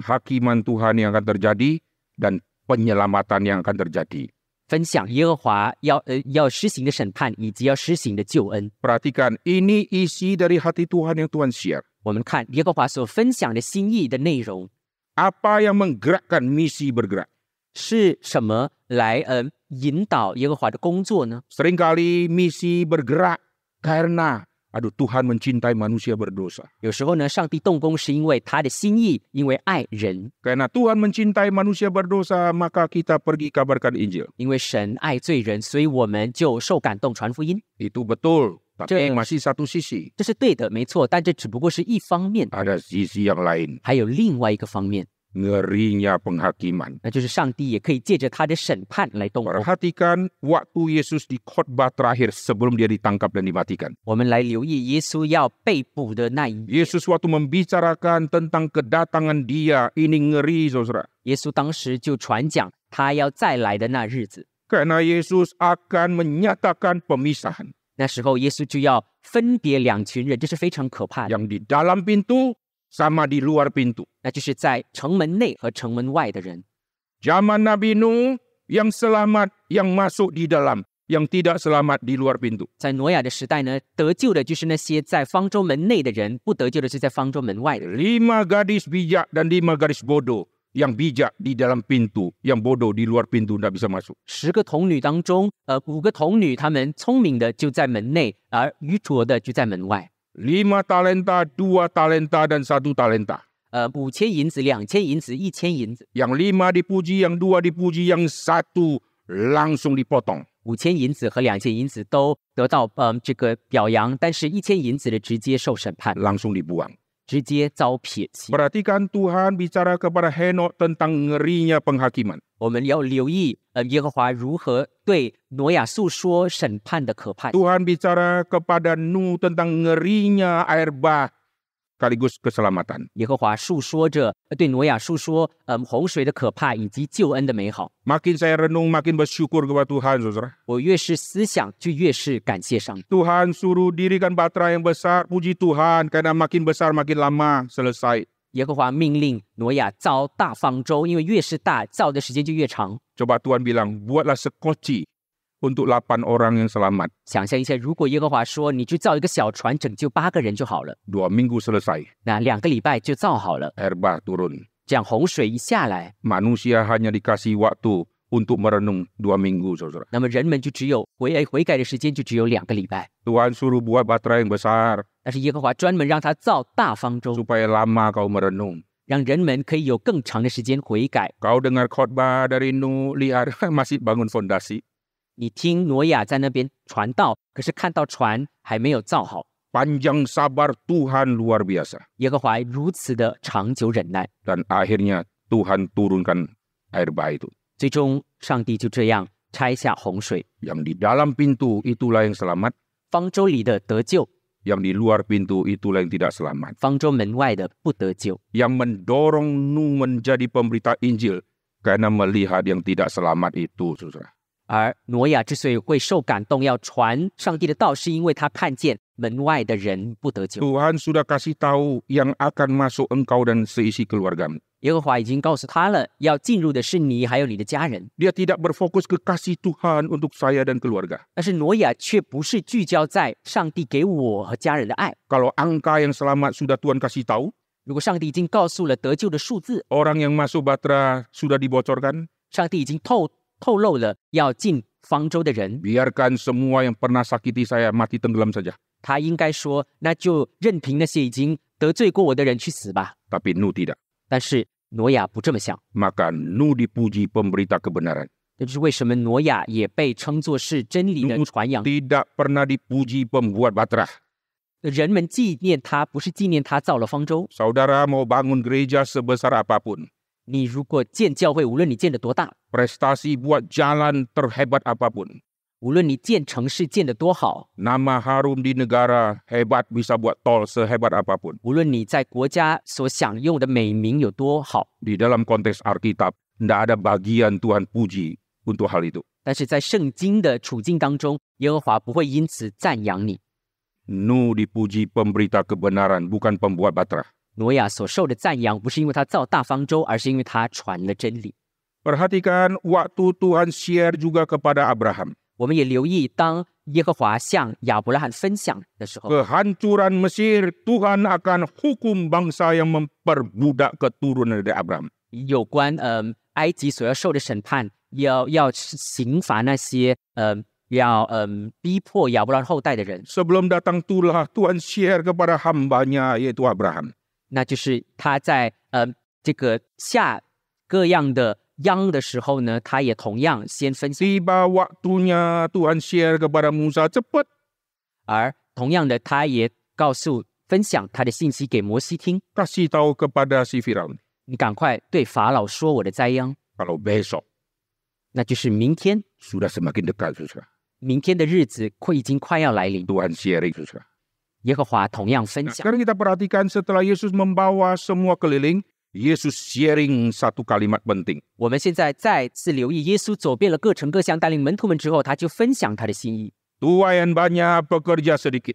penghakiman Tuhan yang akan terjadi dan penyelamatan yang akan terjadi. 分享耶和华要呃要施行的审判以及要施行的救恩。 Perhatikan, ini isi dari hati Tuhan yang Tuhan share. 我们看耶和华所分享的心意的内容 Apa yang menggerakkan misi bergerak? 是什么来呃引导耶和华的工作呢？ Seringkali misi bergerak karena aduh Tuhan mencintai manusia berdosa. 有时候呢，上帝动工是因为他的心意，因为爱人， Karena Tuhan mencintai manusia berdosa, maka kita pergi kabarkan Injil. 因为神爱罪人，所以我们就受感动传福音， Itu betul, tapi Betul. masih satu sisi. 这是对的，没错。但这只不过是一方面， Ada sisi yang lain. 还有另外一个方面， ngerinya penghakiman. 那就是上帝也可以借着他的审判来动工。 Perhatikan waktu Yesus di khotbah terakhir sebelum dia ditangkap dan dimatikan. 我们来留意耶稣要被捕的那一夜。 Yesus waktu membicarakan tentang kedatangan dia, ini ngeri saudara. 耶稣当时就传讲他要再来的那日子， Karena Yesus akan menyatakan pemisahan. 那时候耶稣就要分别两群人，这是非常可怕的， Yang di dalam pintu sama di luar pintu. 那就是在城门内和城门外的人。 Zaman Nabi Nuh yang selamat yang masuk di dalam, yang tidak selamat di luar pintu. 在挪亚的时代呢，得救的就是那些在方舟门内的人，不得救的是在方舟门外的人。 Lima gadis bijak dan lima gadis bodoh. Yang bijak di dalam pintu, yang bodoh di luar pintu tidak bisa masuk. 十个童女当中，呃，五个童女，她们聪明的就在门内，而愚拙的就在门外。 Lima talenta, dua talenta dan satu talenta. 呃，五千银子、两千银子、一千银子， Yang lima dipuji, yang dua dipuji, yang satu langsung dipotong. 五千银子和两千银子都得到嗯、呃这个表扬，但是一千银子的直接受审判， Langsung dibuang. 直接遭撇弃。 Perhatikan Tuhan bicara kepada Henok tentang ngerinya penghakiman. 我们要留意，呃，耶和华如何对挪亚诉说审判的可怕。 Tuhan bicara kepada Nuh tentang ngerinya air bah sekaligus keselamatan. 耶和华述说着呃对挪亚述说，嗯、洪水的可怕以及救恩的美好。 Makin saya renung, makin bersyukur kepada Tuhan, saudara. 我越是思想，就越是感谢上帝。 Tuhan suruh dirikan batra yang besar, puji Tuhan, karena makin besar makin lama selesai. 耶和华命令挪亚造大方舟，因为越是大，造的时间就越长。 Coba Tuhan bilang, buatlah sekoci untuk 8 orang yang selamat. 想象一下，如果耶和华说你去造一个小船，拯救八个人就好了， Dua minggu selesai, 那两个礼拜就造好了。 air bah turun. 这样洪水一下来， Manusia hanya dikasih waktu untuk merenung dua minggu, saudara. 那么人们就只有悔悔改的时间就只有两个礼拜。 Tuhan suruh buat batra yang besar 但是耶和华专门让他造大方舟， supaya lama kau merenung. 让人们可以有更长的时间悔改。 Kau dengar khotbah dari Nuh, lihat masih bangun fondasi. 你听挪亚在那边传道，可是看到船还没有造好， Panjang sabar Tuhan luar biasa. 耶和华如此的长久忍耐， Dan akhirnya Tuhan turunkan air bah itu. 最终上帝就这样拆下洪水， Yang di dalam pintu itulah yang selamat, 方舟里的得救， yang di luar pintu itulah yang tidak selamat. 方舟门外的不得救。 Yang mendorong Nuh menjadi pemberita Injil karena melihat yang tidak selamat itu, saudara. 而挪亚之所以会受感动要传上帝的道，是因为他看见门外的人不得救。 Tuhan sudah kasih tahu yang akan masuk engkau dan seisi keluargamu. 耶和华已经告诉他了，要进入的是你还有你的家人。 Dia tidak berfokus ke kasih Tuhan untuk saya dan keluarga. 但是挪亚却不是聚焦在上帝给我和家人的爱。 Kalau angka yang selamat sudah Tuhan kasih tahu, 如果上帝已经告诉了得救的数字， orang yang masuk batra sudah dibocorkan, 上帝已经透透露了要进方舟的人， biarkan semua yang pernah sakiti saya mati tenggelam saja. 他应该说，那就任凭那些已经得罪过我的人去死吧。 Tapi Nu tidak. 但是挪亚不这么想， Maka Nu dipuji pemberita kebenaran. 这就是为什么挪亚也被称作是真理的传扬。 Tidak pernah dipuji pembuat batra. 人们纪念他，不是纪念他造了方舟。 Saudara mau bangun gereja sebesar apapun, 你如果建教会，无论你建得多大， prestasi buat jalan terhebat apapun, 无论你建城市建得多好， nama harum di negara hebat bisa buat tol sehebat apapun. 无论你在国家所享用的美名有多好， Di dalam konteks Alkitab, tidak ada bagian Tuhan puji untuk hal itu. 但是在圣经的处境当中，耶和华不会因此赞扬你。 Nu dipuji pemberita kebenaran, bukan pembuat batra. 挪亚所受的赞扬，不是因为他造大方舟，而是因为他传了真理。 Perhatikan waktu Tuhan share juga kepada Abraham. 我们也留意，当耶和华向亚伯拉罕分享的时候， Kehancuran Mesir, Tuhan akan hukum bangsa yang memperbudak keturunan dari Abraham. 有关嗯、呃埃及所要受的审判，要要刑罚那些嗯、呃要嗯、逼迫亚伯拉罕后代的人， Sebelum datang Tulah, Tuhan share kepada hambanya yaitu Abraham. 那就是他在呃这个下各样的殃的时候呢，他也同样先分析， Tiba waktunya Tuhan share kepada Musa cepat. 而同样的，他也告诉分享他的信息给摩西听， Kasih tahu kepada si Firaun. 你赶快对法老说我的灾殃， Kalau besok 那就是明天。 sudah semakin dekat, saudara. 明天的日子快已经快要来临。 Tuhan sharing, saudara. 耶和华同样分 Nah, 享。 sekarang kita perhatikan setelah Yesus membawa semua keliling, Yesus sharing satu kalimat penting. 我们现在再次留意耶稣走遍了各城各乡，带领门徒们之后，他就分享他的心意： Tuayan banyak, pekerja sedikit.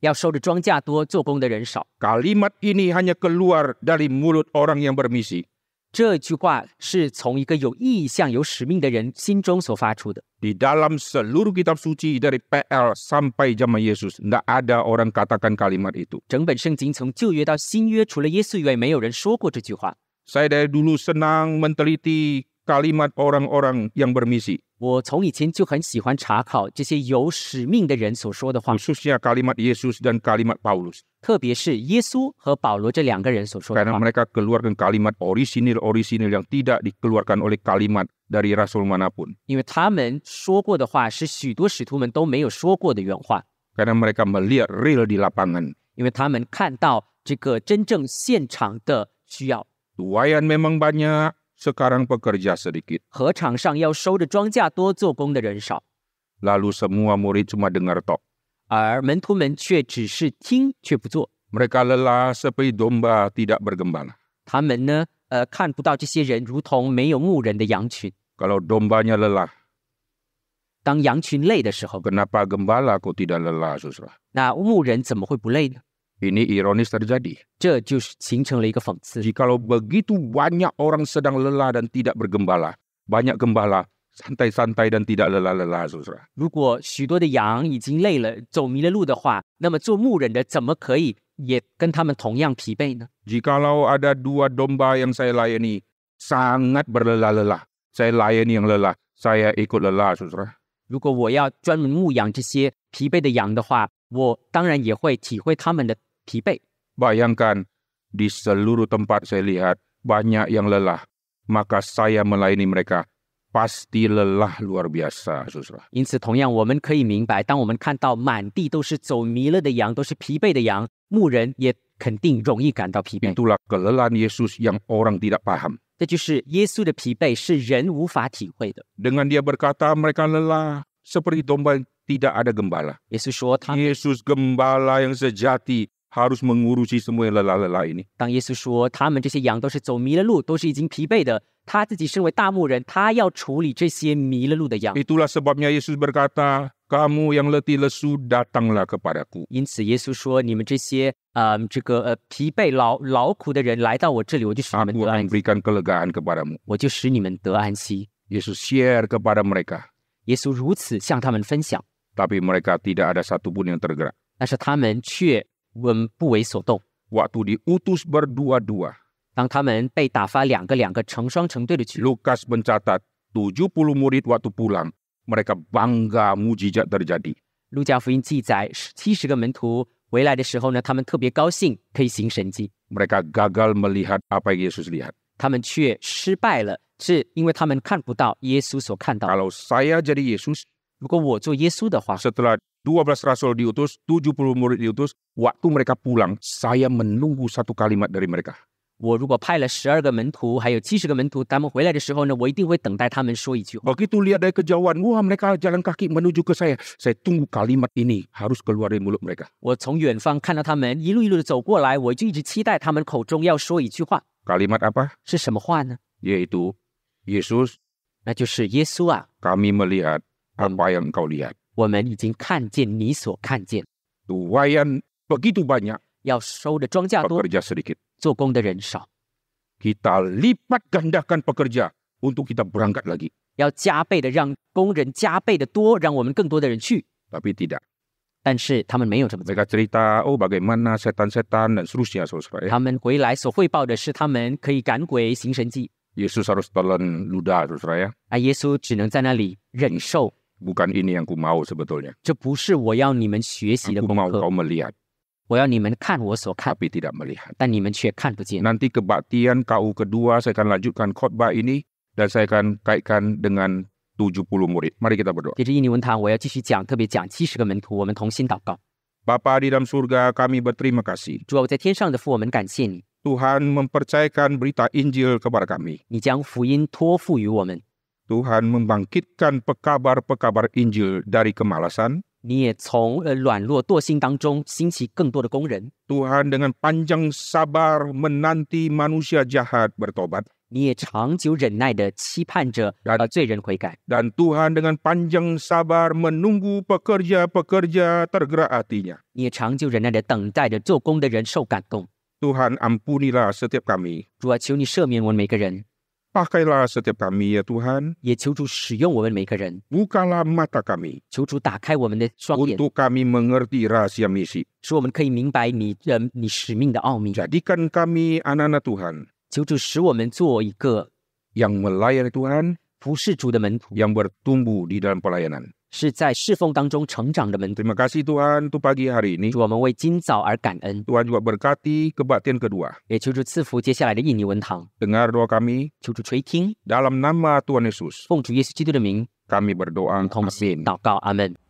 要收的庄稼多，做工的人少。 Kalimat ini hanya keluar dari mulut orang yang bermisi. 这句话是从一个有意向、有使命的人心中所发出的。 Di dalam seluruh kitab suci dari PL sampai zaman Yesus, tidak ada orang katakan kalimat itu. 整本圣经从旧约到新约，除了耶稣以外，没有人说过这句话。 Saya dari dulu senang meneliti kalimat orang-orang yang bermisi, 我从以前就很喜欢查考这些有使命的人所说的话， khususnya kalimat Yesus dan kalimat Paulus, 特别是耶稣和保罗这两个人所说的 karena 话， mereka keluarkan kalimat orisinil-orisinil yang tidak dikeluarkan oleh kalimat dari rasul manapun, 因为他们说过的话是许多使徒们都没有说过的原话， karena mereka melihat real di lapangan. 因为他们看到这个真正现场的需要。 Tuayan memang banyak, sekarang pekerja sedikit. 禾场上要收的庄稼多，做工的人少， Lalu semua murid cuma dengar tok. 而门徒们却只是听却不做。 Mereka lelah seperti domba tidak bergembala. 他们呢，呃，看不到这些人如同没有牧人的羊群。 Kalau dombanya lelah, 当羊群累的时候， kenapa gembala kok tidak lelah, saudara? 那牧人怎么会不累呢？ Ini ironis terjadi. 这就是形成了一个讽刺。 Jikalau begitu banyak orang sedang lelah dan tidak bergembala, banyak gembala santai-santai dan tidak lelah-lelah, saudara. 如果许多的羊已经累了，走迷了路的话，那么做牧人的怎么可以也跟他们同样疲惫呢？ Jikalau ada dua domba yang saya layani, sangat berlelah-lelah. Saya layani yang lelah, saya ikut lelah, saudara. 如果我要专门牧养这些疲惫的羊的话，我当然也会体会他们的疲惫。 Bayangkan, di seluruh tempat saya lihat, banyak yang lelah. Maka saya melayani mereka, pasti lelah luar biasa, saudara. 因此，同样我们可以明白，当我们看到满地都是走迷了的羊，都是疲惫的羊，牧人也肯定容易感到疲惫。 Itulah kelelahan Yesus yang orang tidak paham. 这就是耶稣的疲惫是人无法体会的。 Dengan dia berkata mereka lelah seperti domba yang tidak ada gembala. 耶稣说他， Yesus gembala yang sejati harus mengurusi semua yang lelah-lelah ini. 当耶稣说他们这些羊都是走迷了路，都是已经疲惫的，他自己身为大牧人，他要处理这些迷了路的羊。 Itulah sebabnya Yesus berkata, "Kamu yang letih lesu datanglah kepadaku." 因此，耶稣说：“你们这些呃，这个呃疲惫劳劳苦的人来到我这里，我就使你们 Aku 得 akan 安息， berikan kelegaan kepadamu. 我就使你们得安息。 Yesus share kepada mereka, ”耶稣如此向他们分享， tapi mereka tidak ada satupun yang tergerak. 但是他们却嗯不为所动。 Waktu diutus berdua-dua, 当他们被打发两个两个成双成对的去， Lukas mencatat 70 murid waktu pulang, mereka bangga mujizat terjadi. 路加福音记载，七十个门徒回来的时候呢，他们特别高兴可以行神迹， Mereka gagal melihat apa yang Yesus lihat. 他们却失败了，是因为他们看不到耶稣所看到的。 Kalau saya jadi Yesus, 如果我做耶稣的话， setelah 12 rasul diutus, 70 murid diutus, waktu mereka pulang, saya menunggu satu kalimat dari mereka. 我如果派了十二个门徒，还有七十个门徒，他们回来的时候呢，我一定会等待他们说一句话。 Begitu lihat dari kejauhan, wah mereka jalan kaki menuju ke saya. Saya tunggu kalimat ini harus keluar dari mulut mereka. 我从远方看到他们一路一路的走过来，我就一直期待他们口中要说一句话， Kalimat apa? 是什么话呢？ Yaitu, Yesus 那就是耶稣啊， kami melihat apa yang engkau lihat. 我们已经看见你所看见， Tuayan begitu banyak, 要收的庄稼多， pekerja sedikit. 做工的人少， Kita lipat gandakan pekerja untuk kita berangkat lagi. 要加倍的让工人加倍的多，让我们更多的人去。 Tapi tidak. 但是他们没有这么做， Mereka cerita, oh bagaimana setan-setan dan seterusnya. saudara, ya. 他们回来所汇报的是他们可以赶鬼行神迹， Yesus harus telan ludah, saudara ya. 而耶稣只能在那里忍受。 Bukan ini yang ku mau sebetulnya. 这不是我要你们学习的 Aku 功 mau 课， kau melihat, 我要你们看我所看， tapi tidak melihat. 但你们却看不见。 Nanti kebaktian KU kedua saya akan lanjutkan khotbah ini dan saya akan kaitkan dengan 70 murid. Mari kita berdoa. 接着印尼文堂，我要继续讲，特别讲七十个门徒，我们同心祷告。 Bapa di dalam surga, kami berterima kasih 主啊，我在天上的父，我们感谢你， Tuhan mempercayakan berita Injil kepada kami. 你将福音托付于我们， Tuhan membangkitkan pekabar-pekabar Injil dari kemalasan. 你也从呃软弱惰性当中兴起更多的工人， Tuhan dengan panjang sabar menanti manusia jahat bertobat. 你也长久忍耐的期盼着然呃罪人悔改， Dan Tuhan dengan panjang sabar menunggu pekerja-pekerja tergerak hatinya. 你也长久忍耐的等待着做工的人受感动。 Tuhan ampunilah setiap kami. 主啊，求你赦免我们每个人， Pakailah setiap kami ya Tuhan. 也求主使用我们每个人， Bukalah mata kami 求主打开我们的双眼， untuk kami mengerti rahasia misi. 使我们可以明白你呃你使命的奥秘。 Jadikan kami anak-anak Tuhan 求主使我们做一个 yang melayani Tuhan, 服侍主的门徒， yang bertumbuh di dalam pelayanan. 是在侍奉当中成长的门徒。 Terima kasih Tuhan untuk pagi hari ini. 主，我们为今早而感恩， Tuhan juga berkati kebaktian kedua. 也求主赐福接下来的印尼文堂， Dengar doa kami 求主垂听， dalam nama Tuhan Yesus. 奉主耶稣基督的名， Kami berdoa. 同 Amin. 心祷告，阿门。